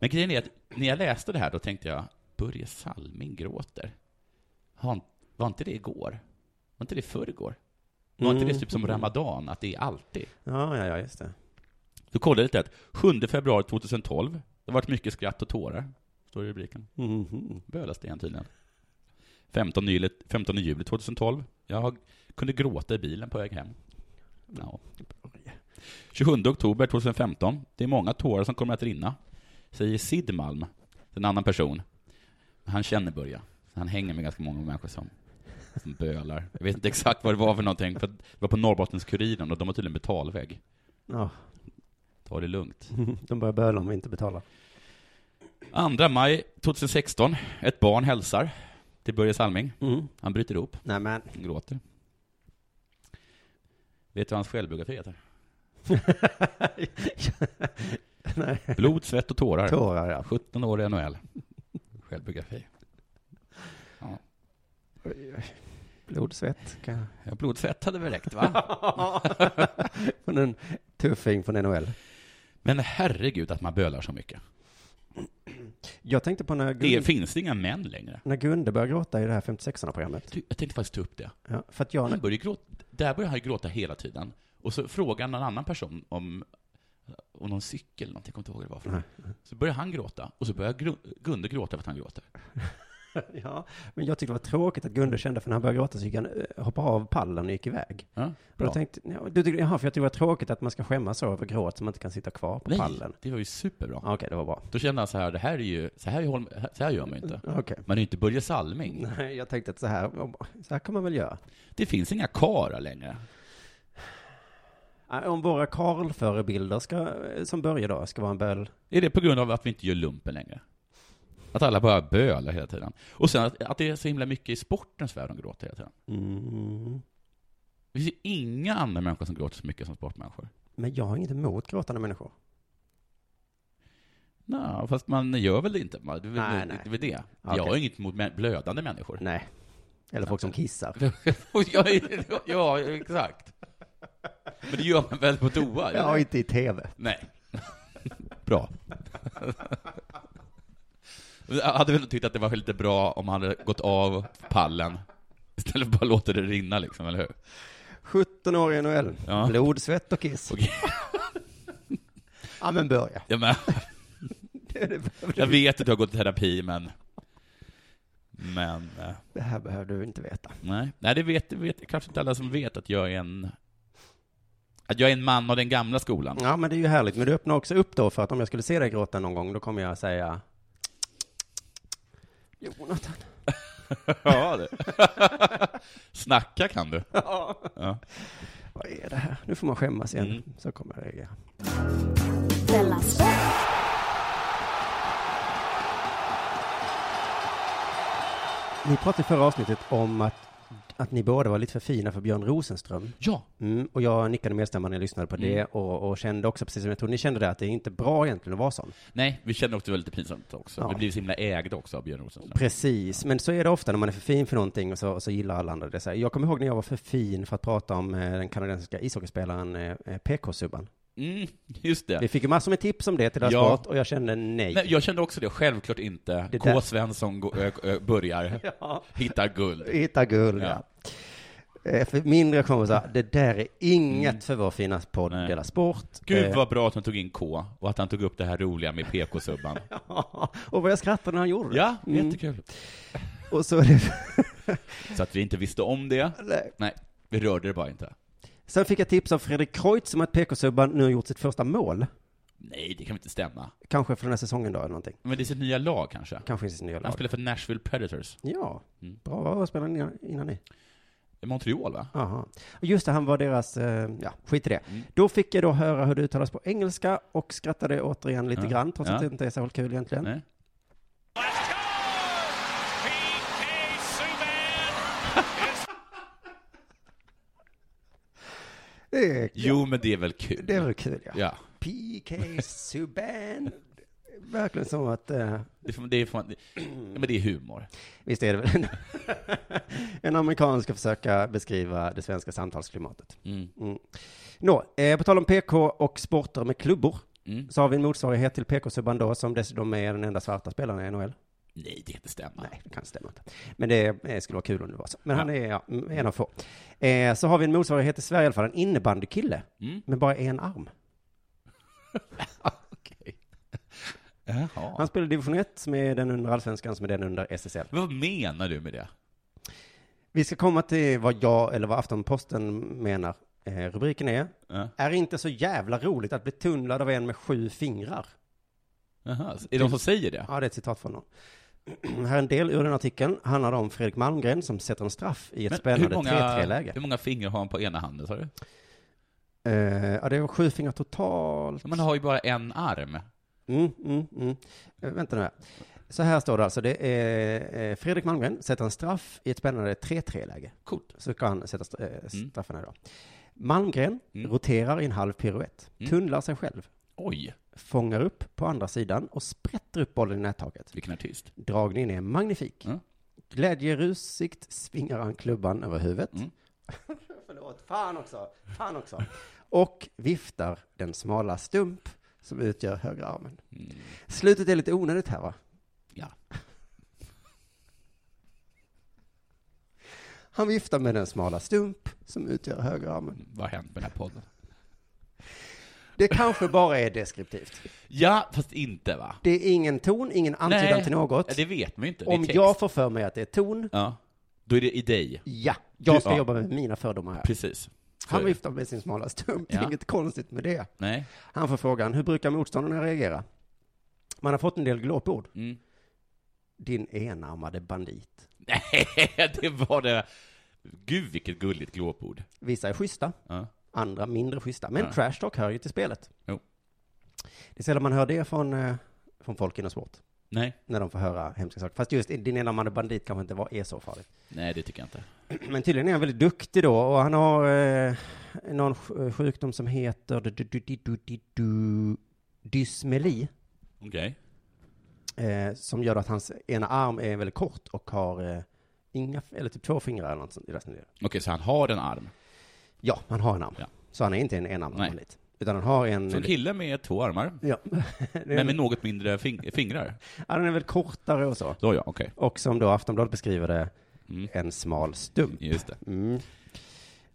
S3: Men grejen är att när jag läste det här då tänkte jag, Börje Salming gråter. Han, var inte det igår? Var inte det förrgår? Var inte det typ som Ramadan, att det är alltid?
S2: <laughs> Ja, ja, ja, just det.
S3: Då kollade jag lite att 7 februari 2012, det har varit mycket skratt och tårar, står det i rubriken.
S2: Mhm.
S3: Bölasten tydligen. 15 juli, 15 juli 2012, jag har- kunde gråta i bilen på väg hem. Ja. 27 oktober 2015, det är många tårar som kommer att rinna, säger Sid Malm, en annan person. Han känner Börje, han hänger med ganska många människor som som bölar. Jag vet inte exakt vad det var för någonting, för det var på Norrbottenskuriren och de har tydligen betalvägg.
S2: Ja, <laughs>
S3: Ta det lugnt.
S2: de börjar böla om vi inte betalar.
S3: 2 maj 2016, ett barn hälsar till Börje Salming.
S2: Mm.
S3: Han bryter ihop,
S2: Nej, men. <laughs>
S3: han gråter. Vet du vad hans självbiografi heter?
S2: Nej.
S3: Blod, svett och tårar.
S2: Tårar, ja.
S3: 17 år i NHL. Självbiografi.
S2: Blod, svett. kan jag-
S3: Ja, blod, svett hade väl räckt, va?
S2: <laughs> Från en tuffing från NHL.
S3: Men herregud att man bölar så mycket.
S2: Jag tänkte på när,
S3: Det
S2: Gun-
S3: är, finns det inga män längre?
S2: när Gunde började gråta i det här 56-programmet.
S3: Du, Jag tänkte faktiskt ta upp det.
S2: <laughs> Ja, för att jag...
S3: Han börjar ju gråta, där börjar han ju gråta hela tiden. Och så frågar han någon annan person om, om någon cykel, eller någonting, jag kommer inte ihåg vad det var för Så börjar han gråta, och så börjar Gru- Gunde gråta för att han gråter.
S2: Ja, men jag tyckte det var tråkigt att Gunde kände för när han började gråta så gick han, eh, hoppade av pallen och gick iväg.
S3: Ja,
S2: Och
S3: bra.
S2: då tänkte, ja, du tyckte, jaha, för jag tyckte det var tråkigt att man ska skämmas över gråt så man inte kan sitta kvar på
S3: Nej,
S2: pallen.
S3: det var ju superbra.
S2: Ja, Okej, det var bra.
S3: Då kände han så här, det här är ju, så här, gör man- så här gör man ju inte.
S2: Okej.
S3: Man är ju inte Börje Salming.
S2: <laughs> Nej, jag tänkte att så här, så här kan man väl göra.
S3: Det finns inga karar längre.
S2: Ja, Om våra Karl-förebilder ska, eh, som börjar då, ska vara en böl.
S3: Är det på grund av att vi inte gör lumpen längre? Att alla bara bölar hela tiden. Och sen att, att det är så himla mycket i sportens värld de gråter hela tiden.
S2: Mm.
S3: Det finns ju inga andra människor som gråter så mycket som sportmänniskor.
S2: Men jag har inget emot gråtande människor.
S3: Nej, fast man gör väl det inte? Man- Det är väl-
S2: Nej,
S3: det-
S2: nej.
S3: det. är väl det.
S2: Okej.
S3: Jag har inget mot mä- blödande människor.
S2: Nej. Eller folk som kissar.
S3: Och jag är- <laughs> ja, exakt. Men det gör man väl på toa? eller?
S2: Ja, inte i tv.
S3: Nej. <laughs> bra. Jag hade väl tyckt att det var lite bra om han hade gått av pallen istället för att bara låta det rinna liksom, eller hur?
S2: 17 år i NHL.
S3: Ja.
S2: Blod, svett och kiss.
S3: Okej.
S2: <laughs> Ja, men
S3: <laughs>
S2: börja.
S3: Ja, men,
S2: Det är det-
S3: jag vet att du har gått i terapi, men... Men... eh,
S2: Det här behöver du inte veta.
S3: Nej, nej det vet, det vet kanske inte alla som vet att jag är en... Att jag är en man av den gamla skolan.
S2: Ja, men det är ju härligt. Men du öppnar också upp då för att om jag skulle se dig gråta någon gång, då kommer jag säga Jonathan.
S3: <laughs> Ja, det. <laughs> Snacka kan du. Ja.
S2: Vad är det här? Nu får man skämmas igen.
S3: Mm.
S2: Så kommer jag reagera.
S5: Della Sport.
S2: Ni pratade i förra avsnittet om att, att ni båda var lite för fina för Björn Rosenström.
S3: ja.
S2: Mm, och jag nickade medstämmande när jag lyssnade på det
S3: Mm.
S2: och, och kände också, precis som jag tror ni kände det, att det är inte bra egentligen att vara sån.
S3: Nej, vi känner också att det var lite pinsamt också.
S2: Ja.
S3: Vi blev så himla ägda också av Björn Rosenström.
S2: Precis, men så är det ofta när man är för fin för någonting och så, och så gillar alla andra det. Så här, Jag kommer ihåg när jag var för fin för att prata om eh, den kanadensiska ishockeyspelaren eh, eh, PK-subban.
S3: Mm, just det.
S2: Vi fick ju massor med tips om det till deras
S3: Ja.
S2: sport och jag kände nej. <laughs>
S3: Nej, jag kände också det, självklart inte.
S2: Det där-
S3: K. Svensson gå- ö- ö-
S2: <laughs>
S3: börjar, hittar guld.
S2: Hitta guld, ja. Eh, För min reaktion var så här, det där är inget för vår fina podd
S3: Mm. Nej.
S2: Dela Sport.
S3: Gud
S2: Eh,
S3: vad bra att han tog in K, och att han tog upp det här roliga med
S2: <laughs>
S3: PK-subban.
S2: och vad jag skrattade när han gjorde det.
S3: Ja,
S2: Mm.
S3: jättekul.
S2: Och så är det...
S3: Så att vi inte visste om det.
S2: Nej.
S3: Nej, vi rörde det bara inte.
S2: Sen fick jag tips av Fredrik Kreutz om att PK-subban nu har gjort sitt första mål.
S3: Nej, det kan väl inte stämma?
S2: Kanske för den här säsongen då, eller någonting.
S3: Men det är sitt nya lag kanske?
S2: Kanske i sitt nya
S3: Han
S2: lag.
S3: spelar för Nashville Predators.
S2: Ja,
S3: Mm.
S2: bra. Vad spelade han innan- innan ni?
S3: Montreal, va?
S2: Aha. Just det, han var deras, eh, ja, skit i det.
S3: Mm.
S2: Då fick jag då höra hur det uttalas på engelska och skrattade återigen lite
S3: Ja.
S2: grann, trots att
S3: Ja.
S2: det inte är så kul egentligen.
S3: Nej.
S2: Det är-
S3: Jo, men det är väl kul?
S2: Eh, Det är väl kul, ja.
S3: Ja. <laughs>
S2: PK Subban. Verkligen som att... eh,
S3: Det är, fan- det är, fan, det,
S2: Mm.
S3: ja, men det är humor.
S2: Visst är det väl en, <laughs> en amerikan ska försöka beskriva det svenska samtalsklimatet.
S3: Mm.
S2: Mm. Nå, eh, på tal om PK och sporter med klubbor, så har vi en motsvarighet till PK-subban då, som dessutom är den enda svarta spelaren i NHL.
S3: Nej, det kan inte stämma.
S2: Nej, det kan stämma inte. Men det eh, skulle vara kul om det var så. Men han är ja, mm, en av få. Eh, så har vi en motsvarighet i Sverige i alla fall, en innebandykille, <laughs>
S3: Mm.
S2: men bara en arm.
S3: Jaha.
S2: Han spelar division 1, som är den under allsvenskan, som är den under SSL.
S3: Men vad menar du med det?
S2: Vi ska komma till vad jag, eller vad Aftonposten menar. Eh, rubriken är
S3: Ja.
S2: Är inte så jävla roligt att bli tunnlad av en med sju fingrar?
S3: Jaha, så Är det de som säger det?
S2: Ja, det är ett citat från honom. <clears throat> Här är en del ur den artikeln. Handlar om Fredrik Malmgren som sätter en straff i ett
S3: Men
S2: spännande
S3: hur många-
S2: 3-3-läge.
S3: Hur många fingrar har han på ena handen, sa du?
S2: Eh, ja, det var sju fingrar totalt.
S3: Man har ju bara en arm.
S2: Mm, mm, mm. Eh, vänta nu här. Så här står det alltså. Det är, eh, Fredrik Malmgren sätter en straff i ett spännande 3-3-läge.
S3: Coolt.
S2: Så ska han sätta st- eh, straffen här då. Malmgren
S3: Mm.
S2: roterar i en halv piruett,
S3: Mm.
S2: tunnlar sig själv,
S3: Oj,
S2: fångar upp på andra sidan och sprätter upp bollen i nättaket.
S3: vilken artist.
S2: Dragningen är magnifik.
S3: Mm.
S2: Glädjerusigt svingar han klubban över huvudet.
S3: Mm.
S2: <laughs> Förlåt, fan också, fan också. Och viftar den smala stump som utgör högra armen.
S3: Mm.
S2: Slutet är lite onödigt här va?
S3: Ja.
S2: Han viftar med den smala stump som utgör högra armen.
S3: Vad har hänt med den här podden?
S2: Det kanske bara är deskriptivt.
S3: Ja, fast inte va?
S2: Det är ingen ton, ingen antydan till
S3: Ja,
S2: något.
S3: det vet man ju inte. Det är
S2: Om
S3: text.
S2: jag får för mig att det är ton,
S3: Ja, då är det i dig.
S2: ja, jag ska
S3: Ja.
S2: jobba med mina fördomar här.
S3: Precis. Så är
S2: Han
S3: det.
S2: viftar med sin smala stump,
S3: Ja.
S2: inget konstigt med det.
S3: Nej.
S2: Han får frågan, hur brukar motståndarna reagera? Man har fått en del glåpord.
S3: Mm.
S2: Din enarmade bandit.
S3: Nej, <laughs> det var det. Gud, vilket gulligt glåpord.
S2: Vissa är schyssta,
S3: Ja.
S2: andra mindre schyssta. Men
S3: Ja.
S2: trash talk hör ju till spelet.
S3: Jo.
S2: Det är sällan man hör det från, eh, från folk inom sport,
S3: Nej.
S2: när de får höra hemska saker. Fast just din enarmade bandit kanske inte var, är så farligt.
S3: Nej, det tycker jag inte.
S2: Men tydligen är han väldigt duktig då, och han har eh, någon sj- sjukdom som heter du- du- du- du- du- du- du- dysmeli.
S3: Okej.
S2: eh, som gör att hans ena arm är väldigt kort och har eh, inga, eller typ två fingrar eller något sånt i resten av det.
S3: Okej, så han har en arm.
S2: Ja, han har en arm.
S3: Ja.
S2: Så han är inte en enarmad
S3: Nej.
S2: bandit. Utan han har en...
S3: Så en kille med två armar,
S2: ja. <laughs> Det är
S3: men
S2: en,
S3: med något mindre fing- fingrar.
S2: ja, den är väl kortare och så.
S3: Då ja, okej.
S2: Och som då Aftonbladet beskriver det,
S3: Mm.
S2: en smal stump.
S3: Just det.
S2: Mm.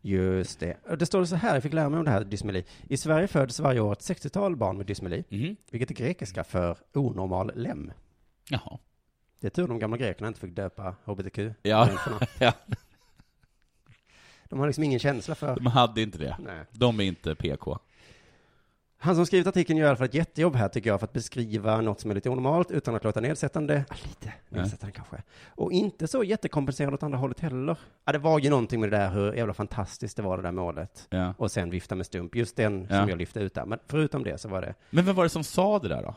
S2: Just det. Och Det står så här, jag fick lära mig om det här dysmeli. I Sverige föds varje år ett 60-tal barn med dysmeli,
S3: Mhm.
S2: vilket är grekiska för onormal lem.
S3: Jaha.
S2: Det är tur de gamla grekerna inte fick döpa hbtq.
S3: Ja. <laughs> ja,
S2: De har liksom ingen känsla för...
S3: de hade inte det.
S2: Nej.
S3: De är inte PK.
S2: Han som skrivit artikeln gör i alla fall ett jättejobb här tycker jag för att beskriva något som är lite onormalt utan att låta nedsättande, ah, lite nedsättande kanske, och inte så jättekompenserande åt andra hållet heller. Ja, det var ju någonting med det där hur jävla fantastiskt det var det där målet.
S3: Ja.
S2: Och sen vifta med stump, just den
S3: Ja.
S2: som jag lyfte ut där. Men förutom det så var det,
S3: Men vem var det som sa det där då?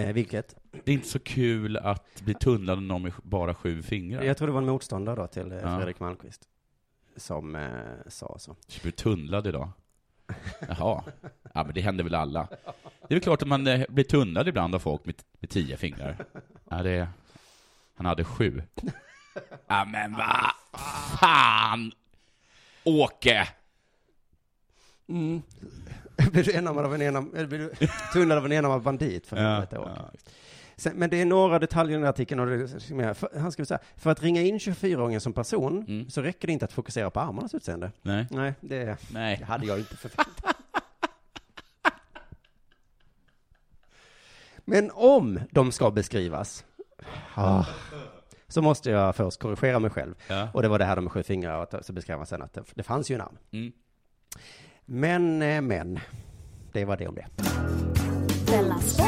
S2: eh, vilket,
S3: Det är inte så kul att bli tunnlad av någon med bara sju fingrar.
S2: jag tror det var en motståndare då till eh,
S3: Ja.
S2: Fredrik Malmqvist, som eh, sa så.
S3: Jag blir tunnlad idag. Jaha. Ja, men det händer väl alla. Det är väl klart att man eh, blir tunnlad ibland av folk med, med tio fingrar. Ja, det... Han hade sju. Ja, men va? Fan! Åke!
S2: <laughs> blir du enarmad av en enam, eller blir du tunnad av en enarmad bandit för helvete Åke?
S3: ja.
S2: Sen, men det är några detaljer i den här artikeln. Och det, som jag- för, han skriver så här, för att ringa in 24-åringen som person
S3: Mm.
S2: så räcker det inte att fokusera på armarnas utseende.
S3: Nej.
S2: Nej, det,
S3: Nej.
S2: det hade jag inte förväntat mig. Men om de ska beskrivas, ah, så måste jag först korrigera mig själv.
S3: Ja.
S2: Och det var det här med sju fingrar, och att- så beskrev man sen att det, det fanns ju en arm.
S3: Mm.
S2: Men, eh, men, det var det om det.
S5: Della Sport.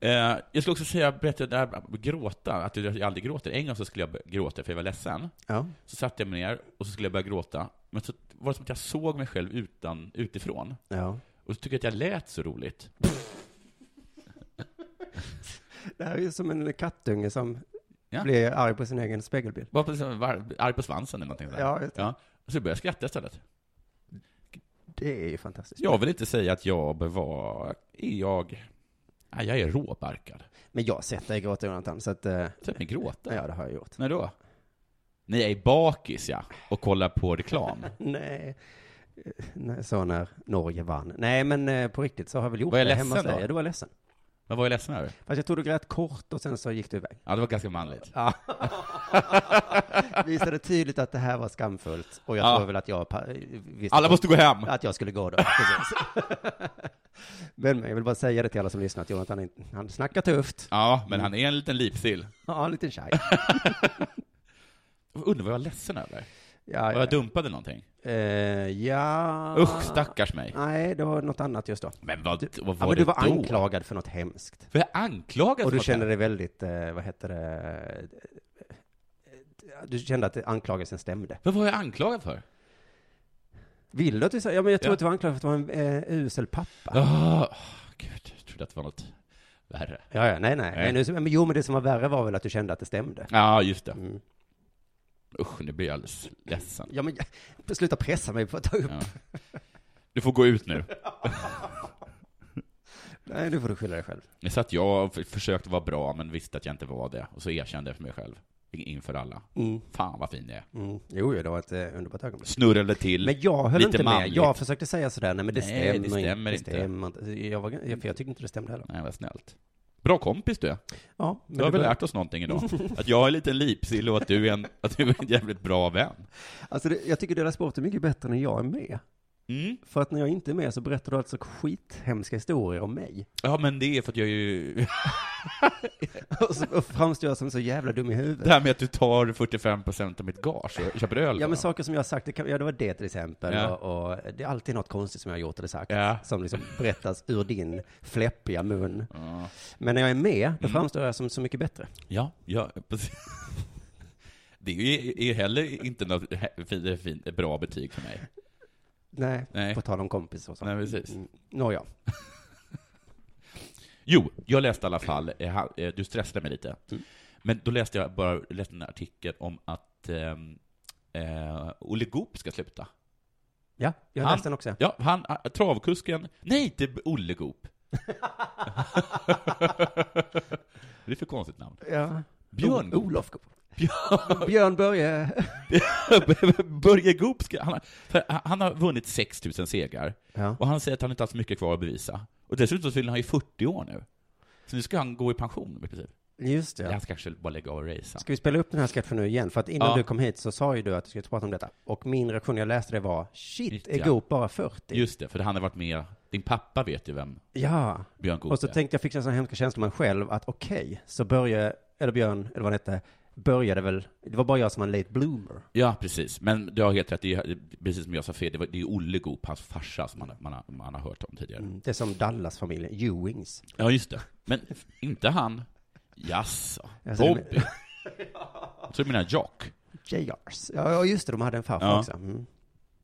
S3: Eh, jag skulle också säga, berätta det här med gråta, att jag aldrig gråter. En gång så skulle jag börja gråta för jag var ledsen.
S2: Ja.
S3: Så satte jag mig ner och så skulle jag börja gråta. Men så var det som att jag såg mig själv utan, utifrån.
S2: ja.
S3: Och så tycker jag att jag lät så roligt.
S2: Det här är ju som en kattunge som
S3: Ja.
S2: blir arg på sin egen spegelbild.
S3: Var, på, var arg på svansen eller någonting sådär.
S2: Ja, just det.
S3: Och så började jag skratta istället.
S2: Det är ju fantastiskt.
S3: Jag vill inte säga att jag bör vara, är jag, nej jag är råbarkad.
S2: Men jag har sett dig gråta Jonathan, så att... eh,
S3: Sett mig gråta?
S2: Ja, det har jag gjort.
S3: När då? När jag är bakis ja, och kollar på reklam.
S2: Nej. Eh, nej, Så när Norge vann. Nej, men eh, på riktigt så har jag väl gjort
S3: Var jag
S2: det hemma hos
S3: ledsen då?
S2: dig. Ja, Du var ledsen.
S3: Vad var jag ledsen över?
S2: Fast jag tror du grät kort och sen så gick du iväg.
S3: Ja, det var ganska manligt.
S2: Ja. <laughs> Visade tydligt att det här var skamfullt. Och jag
S3: Ja.
S2: tror väl att jag pa- visste
S3: Alla måste gå hem!
S2: att jag skulle gå
S3: <laughs>
S2: då. Precis. <laughs> men men jag vill bara säga det till alla som lyssnar att Jonathan, är- han snackar tufft.
S3: Ja, men han är en liten lipsill.
S2: Ja, en liten tjej.
S3: Undrar vad jag var ledsen över?
S2: Ja,
S3: Var jag dumpade någonting?
S2: eh, ja.
S3: Usch, stackars mig.
S2: Nej, det var något annat just då.
S3: Men vad, vad
S2: Ja,
S3: var
S2: men
S3: det
S2: du var
S3: då?
S2: anklagad för något hemskt.
S3: För jag anklagad
S2: Och
S3: för
S2: du
S3: något
S2: kände
S3: här.
S2: dig väldigt, eh, vad heter det? eh, Du kände att anklagelsen stämde.
S3: Vad var jag anklagad för?
S2: Vill du att vi säger, ja men jag tror
S3: Ja.
S2: att du var anklagad för att du var en eh, usel pappa.
S3: Ah, gud, jag trodde att det var något värre.
S2: Ja, ja, nej, nej. nej. nu, men, jo, men det som var värre var väl att du kände att det stämde.
S3: Ja, just det.
S2: Mm.
S3: Usch, nu blir jag alldeles ledsen.
S2: Ja, men jag- <laughs> sluta pressa mig på att ta upp.
S3: Ja. Du får gå ut nu.
S2: <laughs> Nej, nu får du skylla dig själv.
S3: Så att jag f- försökte vara bra, men visste att jag inte var det. Och så erkände jag för mig själv. in- Inför alla.
S2: Mm.
S3: Fan vad fin jag är.
S2: Mm. Jo, jo, det var ett eh, underbart ögonblick.
S3: Snurrade till.
S2: Men jag höll
S3: Lite
S2: inte med.
S3: manligt.
S2: Jag försökte säga sådär, nej men det
S3: Nej,
S2: stämmer,
S3: det stämmer
S2: inte.
S3: inte.
S2: Det stämmer inte. Jag, var, jag, för jag tyckte inte det stämde heller.
S3: Nej, vad snällt. Bra kompis du är.
S2: Ja, men
S3: Du har
S2: det
S3: väl
S2: var-
S3: lärt oss någonting
S2: <laughs>
S3: idag? Att jag är lite lipsill och att du är en, att du är en jävligt bra vän.
S2: Alltså, det, jag tycker Della Sport är mycket bättre när jag är med.
S3: Mm.
S2: För att när jag inte är med så berättar du alltså skithemska historier om
S3: <laughs>
S2: mig.
S3: Ja, men det är för att jag är ju...
S2: Och så och framstår jag som så jävla dum i huvudet.
S3: Det här med att du tar 45% av mitt gage och köper
S2: Ja
S3: öl.
S2: men
S3: bara.
S2: saker som jag har sagt, det, kan, ja, det var det till exempel,
S3: Ja.
S2: och, och det är alltid något konstigt som jag har gjort eller sagt,
S3: Ja.
S2: som liksom berättas ur din fläppiga mun. Men när jag är med,
S3: Mm.
S2: då framstår jag som så mycket bättre.
S3: Ja, ja precis. Det är ju är heller inte något he- fin, fin, bra betyg för mig.
S2: Nej,
S3: Nej.
S2: på tal om kompis och så.
S3: Nej, precis.
S2: Mm. Nåja.
S3: Jo, jag läste i alla fall, eh, ha- eh, du stressade mig lite.
S2: Mm.
S3: Men då läste jag bara läste en artikel om att ehm, eh, Olle Goop ska sluta.
S2: Ja, jag
S3: Han-
S2: läste den också.
S3: Ja, han, ah, travkusken, nej inte B-
S2: <laughs>
S3: Olle Goop. <laughs> det är för konstigt namn.
S2: Ja.
S3: Björn Goop.
S2: Olof Goop. Björn Börje.
S3: <laughs> Börje Goop ska, han, har- för han har vunnit 6000 segrar.
S2: Ja.
S3: Och han säger att han inte haft så mycket kvar att bevisa. Och dessutom så fyller han ju 40 år nu. Så nu ska han gå i pension i princip.
S2: Just det.
S3: Ja. Han ska kanske bara lägga av och racea.
S2: Ska vi spela upp den här sketchen nu igen? För att innan
S3: Ja.
S2: du kom hit så sa ju du att du skulle prata om detta. Och min reaktion när jag läste det var, shit,
S3: Shit,
S2: är
S3: ja.
S2: Goop bara 40?
S3: Just det, för han har varit med, din pappa vet ju vem
S2: Ja.
S3: Björn Goop
S2: Och så
S3: är.
S2: tänkte jag, fick jag sån hemska känsla med mig själv, att okej, så Börje, eller Björn, eller vad han hette, började väl, det var bara jag som var en late bloomer.
S3: Ja, precis. Men du har helt rätt, det är, precis som jag sa fel, det, var, det är Olle Goop, hans farsa, som man, har- man, har, man har hört om tidigare.
S2: Mm, Det är som Dallas-familjen, Ewings.
S3: Ja, just det. Men inte han. Jaså?
S2: Jag ser det med- <laughs>
S3: Bobby? Så du menar Jock?
S2: JRs. Ja, ja, just det, de hade en farfar
S3: Ja.
S2: också. Mm.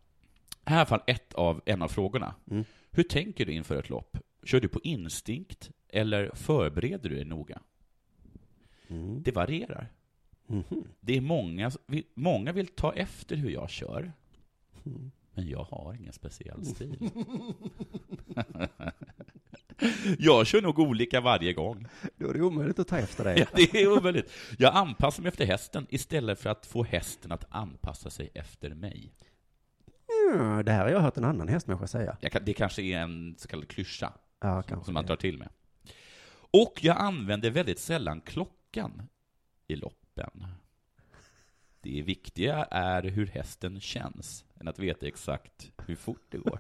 S2: <laughs>
S3: Här är i alla fall ett av, en av frågorna. Hur tänker du inför ett lopp? Kör du på instinkt eller förbereder du dig noga? Det varierar. Det är många, många vill ta efter hur jag kör. Men jag har ingen speciell stil. <laughs> jag kör nog olika varje gång.
S2: Då är det omöjligt att ta efter dig.
S3: <laughs> Ja, det är omöjligt. Jag anpassar mig efter hästen istället för att få hästen att anpassa sig efter mig.
S2: Mm, det här har jag hört en annan hästmänniska säga.
S3: Jag kan, det kanske är en så kallad klyscha
S2: Ja,
S3: som,
S2: kanske.
S3: som man drar till med. Och jag använder väldigt sällan klockan i loppen. Det viktiga är hur hästen känns, än att veta exakt hur fort det går.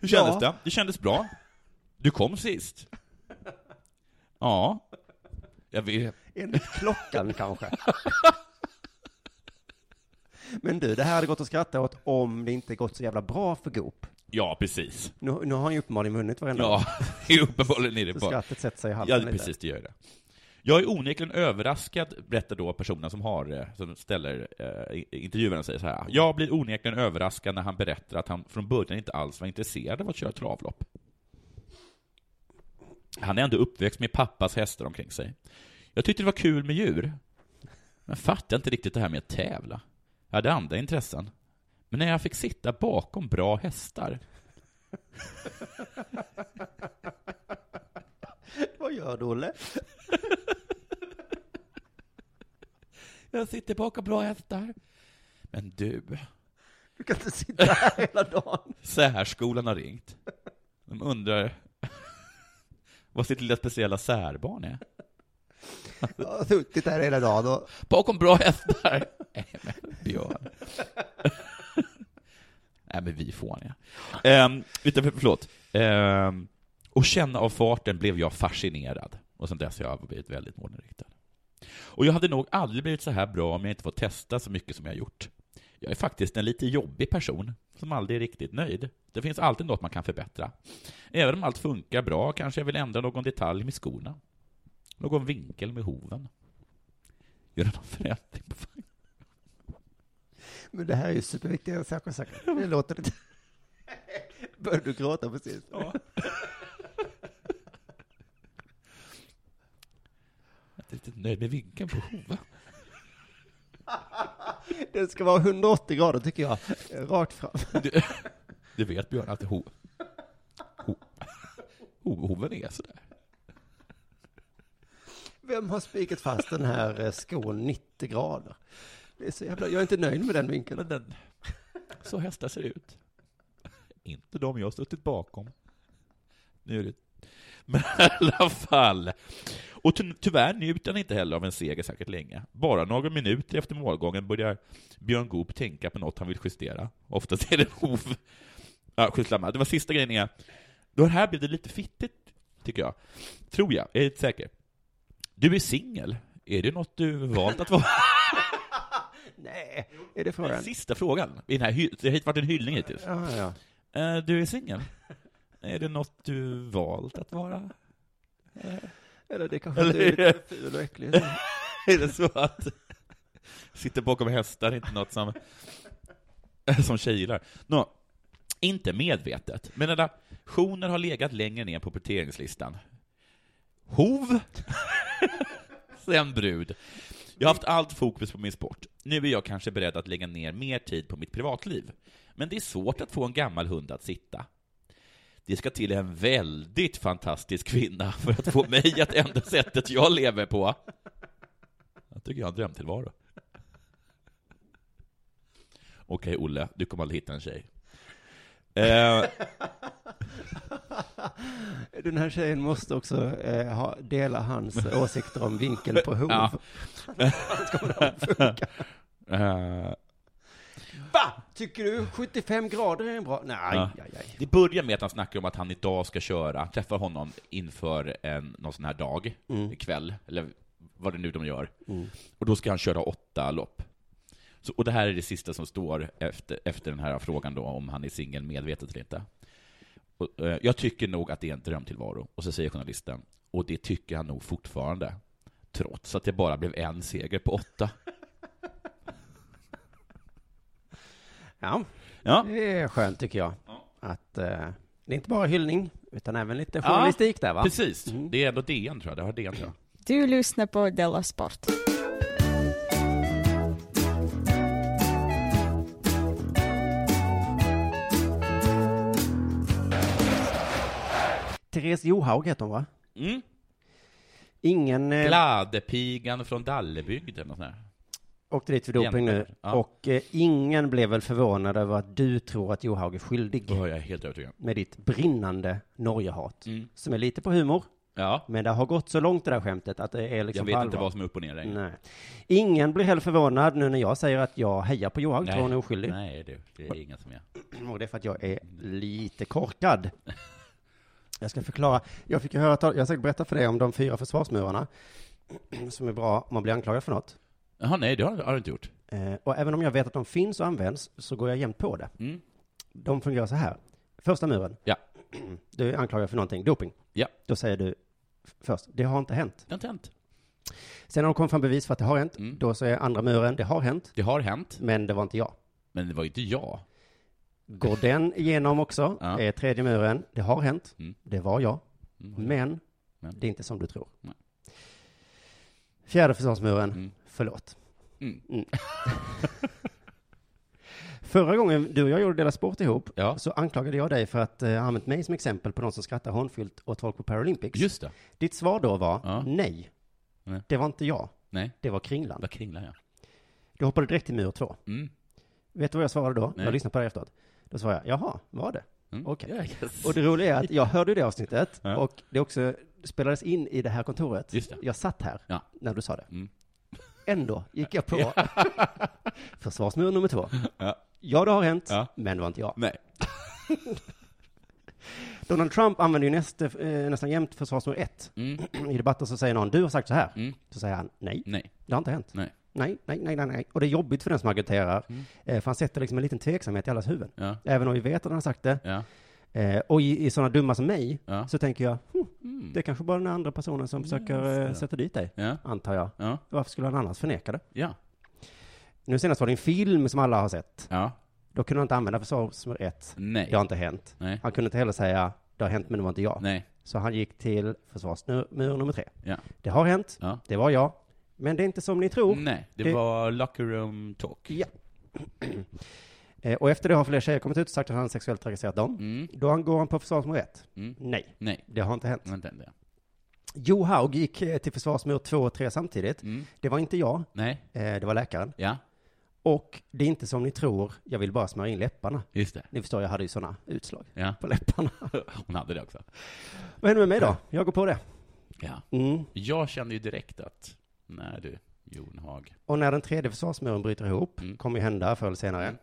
S3: Hur kändes
S2: Ja.
S3: det? Det kändes bra. Du kom sist. Ja. Jag vet.
S2: Enligt klockan kanske. Men du, det här hade gått att skratta åt om det inte gått så jävla bra för Goop.
S3: Ja, precis.
S2: Nu, nu har han ju uppenbarligen vunnit varenda gång.
S3: Ja, <laughs> det är uppenbarligen är det
S2: Så
S3: bara...
S2: skrattet sätter sig i halsen
S3: Ja,
S2: lite.
S3: precis, det gör det. Jag är onekligen överraskad, berättar då personen som, har, eh, som ställer eh, i- intervjuaren och säger så här. Jag blir onekligen överraskad när han berättar att han från början inte alls var intresserad av att köra travlopp. Han är ändå uppväxt med pappas hästar omkring sig. Jag tyckte det var kul med djur. Men fattar inte riktigt det här med att tävla. Jag hade andra intressen. Men när jag fick sitta bakom bra hästar.
S2: Vad gör du, Olle?
S3: jag sitter bakom bra hästar. Men du.
S2: Du kan inte sitta
S3: <laughs>
S2: här hela dagen.
S3: Särskolan har ringt. De undrar <laughs> vad sitt lilla speciella särbarn är.
S2: Jag har suttit här hela dagen och...
S3: Bakom bra hästar. <laughs> Nej, men Björn. <laughs> Nej, men vi fåniga. Um, utan, förlåt. Um, och känna av farten blev jag fascinerad. Och sen dess har jag blivit väldigt målinriktad. Och jag hade nog aldrig blivit så här bra om jag inte fått testa så mycket som jag gjort. Jag är faktiskt en lite jobbig person som aldrig är riktigt nöjd. Det finns alltid något man kan förbättra. Även om allt funkar bra kanske jag vill ändra någon detalj med skorna. Någon vinkel med hoven. Göra någon förändring på vagnen.
S2: Men det här är ju superviktiga saker sagt. Det låter lite... <laughs> Började du gråta precis?
S3: Ja. Jag är lite nöjd med vinkeln på hoven.
S2: Det ska vara 180 grader tycker jag. Rakt fram.
S3: Du, du vet Björn att ho, ho, ho, hoven är sådär.
S2: Vem har spikat fast den här eh, skon 90 grader? Det är så jävla, jag är inte nöjd med den vinkeln.
S3: Men den, så hästar ser ut. Inte de jag har suttit bakom. Nu är det... Men i alla fall. Och ty tyvärr njuter han inte heller av en seger särskilt länge. Bara några minuter efter målgången börjar Björn Goop tänka på något han vill justera. Oftast är det hov. Ja, skitsamma. Det var sista grejen är, då här blev det lite fittigt, tycker jag. Tror jag, jag är inte säker. Du är singel. Är det något du valt att vara?
S2: Nej, är det
S3: Den
S2: frågan?
S3: sista frågan. I den här hy- det har varit en hyllning hittills.
S2: Ja, ja.
S3: Eh, Du är singel. Är det något du valt att vara?
S2: Eller det kanske
S3: Eller
S2: inte är
S3: är det-
S2: lite ful och äcklig.
S3: <laughs> Är det så att sitta bakom hästar är inte något som, <laughs> som tjejer gillar? Nå, inte medvetet. Men redaktioner har legat längre ner på prioriteringslistan. Hov, <laughs> sen brud. Jag har haft allt fokus på min sport. Nu är jag kanske beredd att lägga ner mer tid på mitt privatliv. Men det är svårt att få en gammal hund att sitta. Det ska till en väldigt fantastisk kvinna för att få mig att ändra sättet jag lever på. Jag tycker jag har en drömtillvaro. Okej, Olle, du kommer aldrig hitta en tjej. Eh,
S2: Den här tjejen måste också eh, ha, dela
S3: <laughs>
S2: hans åsikter om vinkel på hov.
S3: Ja. eh,
S2: Va? Tycker du 75 grader är en bra? Nej,
S3: Ja.
S2: aj, aj.
S3: det börjar med att han snackar om att han idag ska köra, han träffar honom inför en, någon sån här dag, kväll, eller vad det nu de gör. Och då ska han köra åtta lopp. Så, och det här är det sista som står efter, efter den här frågan då, om han är singel medvetet eller inte. Och, eh, jag tycker nog att det är en drömtillvaro. Och så säger journalisten, och det tycker han nog fortfarande. Trots att det bara blev en seger på åtta.
S2: Ja,
S3: <laughs> Ja.
S2: det är skönt tycker jag. Att eh, det är inte bara hyllning, utan även lite
S3: Ja,
S2: journalistik där va?
S3: Precis, Mm. det är ändå DN tror jag, det har DN tror jag.
S9: Du lyssnar på Della Sport.
S2: Therese Johaug heter hon va?
S3: Mm.
S2: Ingen eh,
S3: Gladepigan från Dallebygd eller något sånt där.
S2: åkte dit för doping nu.
S3: Jämfört. Ja.
S2: Och eh, ingen blev väl förvånad över att du tror att Johaug är skyldig
S3: Då är jag helt övertygad.
S2: med ditt brinnande Norgehat.
S3: Mm.
S2: Som är lite på humor,
S3: Ja,
S2: men det har gått så långt det där skämtet att det är
S3: jag
S2: liksom
S3: vet
S2: på
S3: inte
S2: allvar.
S3: vad som är upp och ner längre.
S2: Nej. Ingen blir heller förvånad nu när jag säger att jag hejar på Johaug, tror hon är oskyldig.
S3: Nej, du, det är ingen som är.
S2: Och det är för att jag är lite korkad. Jag ska förklara. Jag fick ju höra, tal- jag har säkert berättat för dig om de fyra försvarsmurarna <clears throat> som är bra om man blir anklagad för något.
S3: Jaha, nej, det har, har du inte gjort.
S2: Eh, och även om jag vet att de finns och används så går jag jämt på det.
S3: Mm.
S2: De fungerar så här. Första muren.
S3: Ja.
S2: <clears throat> Du är anklagad för någonting, doping.
S3: Ja.
S2: Då säger du f- först, det har inte hänt.
S3: Det har inte hänt.
S2: Sen har de kommit fram bevis för att det har hänt.
S3: Mm.
S2: Då säger andra muren, det har hänt,
S3: Det har hänt,
S2: men det var inte jag.
S3: men det var ju inte jag.
S2: Går den igenom också,
S3: Ja.
S2: är tredje muren, det har hänt,
S3: Mm.
S2: det var jag,
S3: Mm.
S2: men
S3: Men.
S2: det är inte som du tror.
S3: Nej.
S2: Fjärde försvarsmuren,
S3: Mm. <laughs>
S2: förlåt.
S3: Mm.
S2: Mm. Förra gången du och jag gjorde Dela Sport ihop så anklagade jag dig för att eh, ha använt mig som exempel på någon som skrattar hånfullt åt folk på Paralympics.
S3: Just det.
S2: Ditt svar då var nej.
S3: Nej.
S2: Det var inte jag.
S3: Nej.
S2: Det var Kringland.
S3: Vad kringlar jag?
S2: Du hoppade direkt till mur två.
S3: Mm.
S2: Vet du vad jag svarade då?
S3: Nej.
S2: Jag lyssnade på det efteråt. Då svarade jag, jaha, var det?
S3: Mm.
S2: Okej.
S3: Ja, yes.
S2: Och det roliga är att jag hörde det avsnittet
S3: Ja.
S2: och det också spelades in i det här kontoret.
S3: Just det.
S2: Jag satt här
S3: Ja.
S2: när du sa det.
S3: Mm.
S2: Ändå gick jag på <laughs> försvarsmur nummer två.
S3: Ja.
S2: Ja, det har hänt,
S3: Ja.
S2: men det var inte jag.
S3: Nej.
S2: Donald Trump använder ju näst, eh, nästan jämt försvarsmur ett. <clears throat>
S3: Mm.
S2: I debatten så säger någon, du har sagt så här.
S3: Mm.
S2: Så säger han, nej,
S3: Nej.
S2: det har inte hänt.
S3: Nej. Mm.
S2: Nej, nej, nej, nej, nej. Och det är jobbigt för den som argumenterar, eh, för han sätter liksom en liten tveksamhet i allas huvuden.
S3: Ja.
S2: Även om vi vet att han har sagt det.
S3: Ja.
S2: Eh, och i, i sådana dumma som mig,
S3: Ja.
S2: så tänker jag, hm,
S3: Mm.
S2: det är kanske bara den andra personen som försöker eh, sätta dit dig,
S3: Ja.
S2: antar jag.
S3: Ja.
S2: Varför skulle han annars förneka det?
S3: Ja.
S2: Nu senast var det en film som alla har sett.
S3: Ja.
S2: Då kunde han inte använda försvarsmur ett.
S3: Nej.
S2: Det har inte hänt.
S3: Nej.
S2: Han kunde inte heller säga, det har hänt men det var inte jag.
S3: Nej.
S2: Så han gick till försvarsmur mur nummer tre.
S3: Ja.
S2: Det har hänt,
S3: Ja. Mm.
S2: det var jag, men det är inte som ni tror.
S3: Nej. Det,
S2: Det-
S3: var locker room talk.
S2: Ja. Eh, och efter det har fler tjejer kommit ut och sagt att han sexuellt trakasserat dem.
S3: Mm.
S2: Då han går han på försvarsmur ett.
S3: Mm.
S2: Nej,
S3: Nej.
S2: det har inte hänt.
S3: Vänta, vänta.
S2: Jo Haug gick eh, till försvarsmur två och tre samtidigt.
S3: Mm.
S2: Det var inte jag,
S3: Nej.
S2: eh, det var läkaren.
S3: Ja.
S2: Och det är inte som ni tror, jag vill bara smörja in läpparna.
S3: Just det.
S2: Ni förstår, jag hade ju sådana utslag <laughs>
S3: Ja.
S2: på läpparna.
S3: Hon hade det också.
S2: Vad händer med mig då? Jag går på det.
S3: Ja.
S2: Mm.
S3: Jag kände ju direkt att, när du, Jon Haag.
S2: Och när den tredje försvarsmuren bryter ihop,
S3: Mm.
S2: kommer ju hända förr eller senare,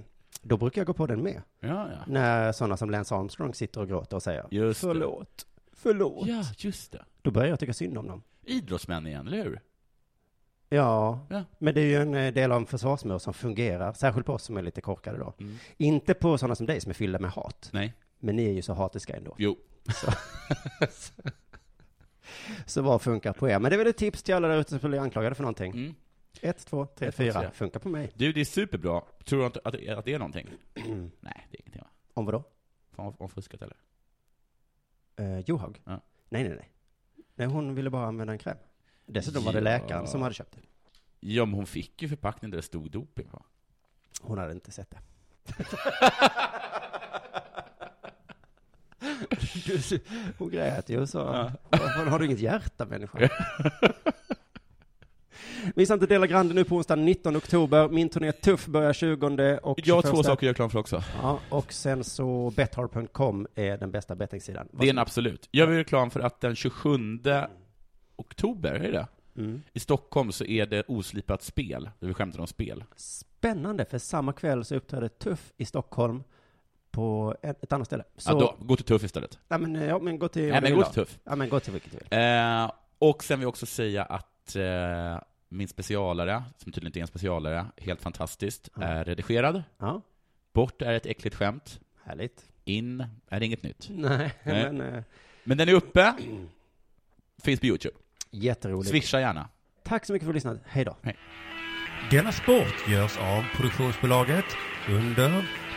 S2: <clears throat> då brukar jag gå på den med.
S3: Ja, ja.
S2: När sådana som Lance Armstrong sitter och gråter och säger
S3: Just det.
S2: förlåt, förlåt.
S3: Ja, just det.
S2: Då börjar jag tycka synd om dem.
S3: Idrottsmän igen, eller hur?
S2: Ja,
S3: Ja.
S2: men det är ju en eh, del av en försvarsmur som fungerar, särskilt på oss som är lite korkade då.
S3: Mm.
S2: Inte på sådana som dig som är fyllda med hat,
S3: Nej.
S2: men ni är ju så hatiska ändå.
S3: Jo.
S2: Så vad funkar på er? Men det är väl ett tips till alla där ute som blir anklagade för någonting.
S3: Mm.
S2: Ett, två, tre,
S3: Ett, två,
S2: fyra.
S3: tre.
S2: Funkar på mig. <clears throat>
S3: Du, det är superbra. Tror du inte att, att det är någonting? Nej, det är ingenting va?
S2: Om vadå?
S3: Fan, om fuskat eller?
S2: Eh, Johag?
S3: Ja.
S2: Nej, nej, nej. Nej, hon ville bara använda en kräm. Dessutom var det
S3: Ja.
S2: läkaren som hade köpt det.
S3: Ja, men hon fick ju förpackning där det stod doping på.
S2: Hon hade inte
S3: <laughs>
S2: sett det. Hon grät ju och sa, "Varför har du inget hjärta människa? Missa inte Dela Grande nu på onsdag 19 oktober. Min turné Tuff börjar 20 och
S3: Jag har
S2: 21.
S3: två saker att göra reklam för också.
S2: Ja, och sen så bethard.com är den bästa bettingsidan.
S3: Det är en absolut. Jag vill reklam för att den 27 oktober, är det
S2: Mm.
S3: I Stockholm så är det oslipat spel, där vi skämtar om spel.
S2: Spännande, för samma kväll så uppträder Tuff i Stockholm på ett, ett annat ställe. Så,
S3: Ja, då, gå till Tuff istället.
S2: nej men, ja men gå till...
S3: Nej, men gå till Tuff.
S2: Ja men gå till vilket du vill.
S3: Eh, och sen vill jag också säga att eh, min specialare, som tydligen inte är en specialare, helt fantastiskt,
S2: Ja.
S3: är redigerad.
S2: Ja,
S3: Bort är ett äckligt skämt.
S2: härligt.
S3: In är inget nytt.
S2: Nej,
S3: Nej.
S2: <laughs> men eh,
S3: Men den är uppe. Finns på YouTube.
S2: jätteroligt.
S3: Swisha gärna.
S2: Tack så mycket för att du lyssnade. Hej då.
S10: Denna sport görs av produktionsbolaget under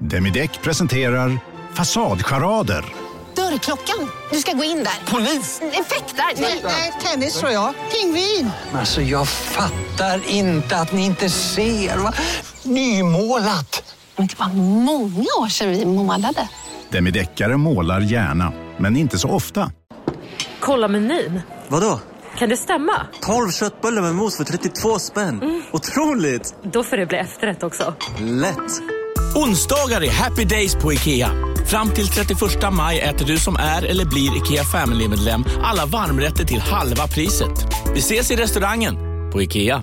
S11: Demideck presenterar Fasadcharader.
S12: Dörrklockan. Du ska gå in där. Polis? Effektar? Nej, tennis tror jag. Pingvin.
S13: Alltså jag fattar inte att ni inte ser. Va? Nymålat!
S12: Men det var många år sedan vi målade.
S11: Demideckare målar gärna, men inte så ofta.
S14: Kolla menyn.
S15: Vadå?
S14: Kan det stämma?
S15: 12 köttbullar med mos för 32 spänn. Otroligt!
S14: Mm. Då får det bli efterrätt också.
S15: Lätt!
S16: Onsdagar är happy days på IKEA. Fram till 31 maj äter du som är eller blir IKEA Family-medlem alla varmrätter till halva priset. Vi ses i restaurangen på IKEA.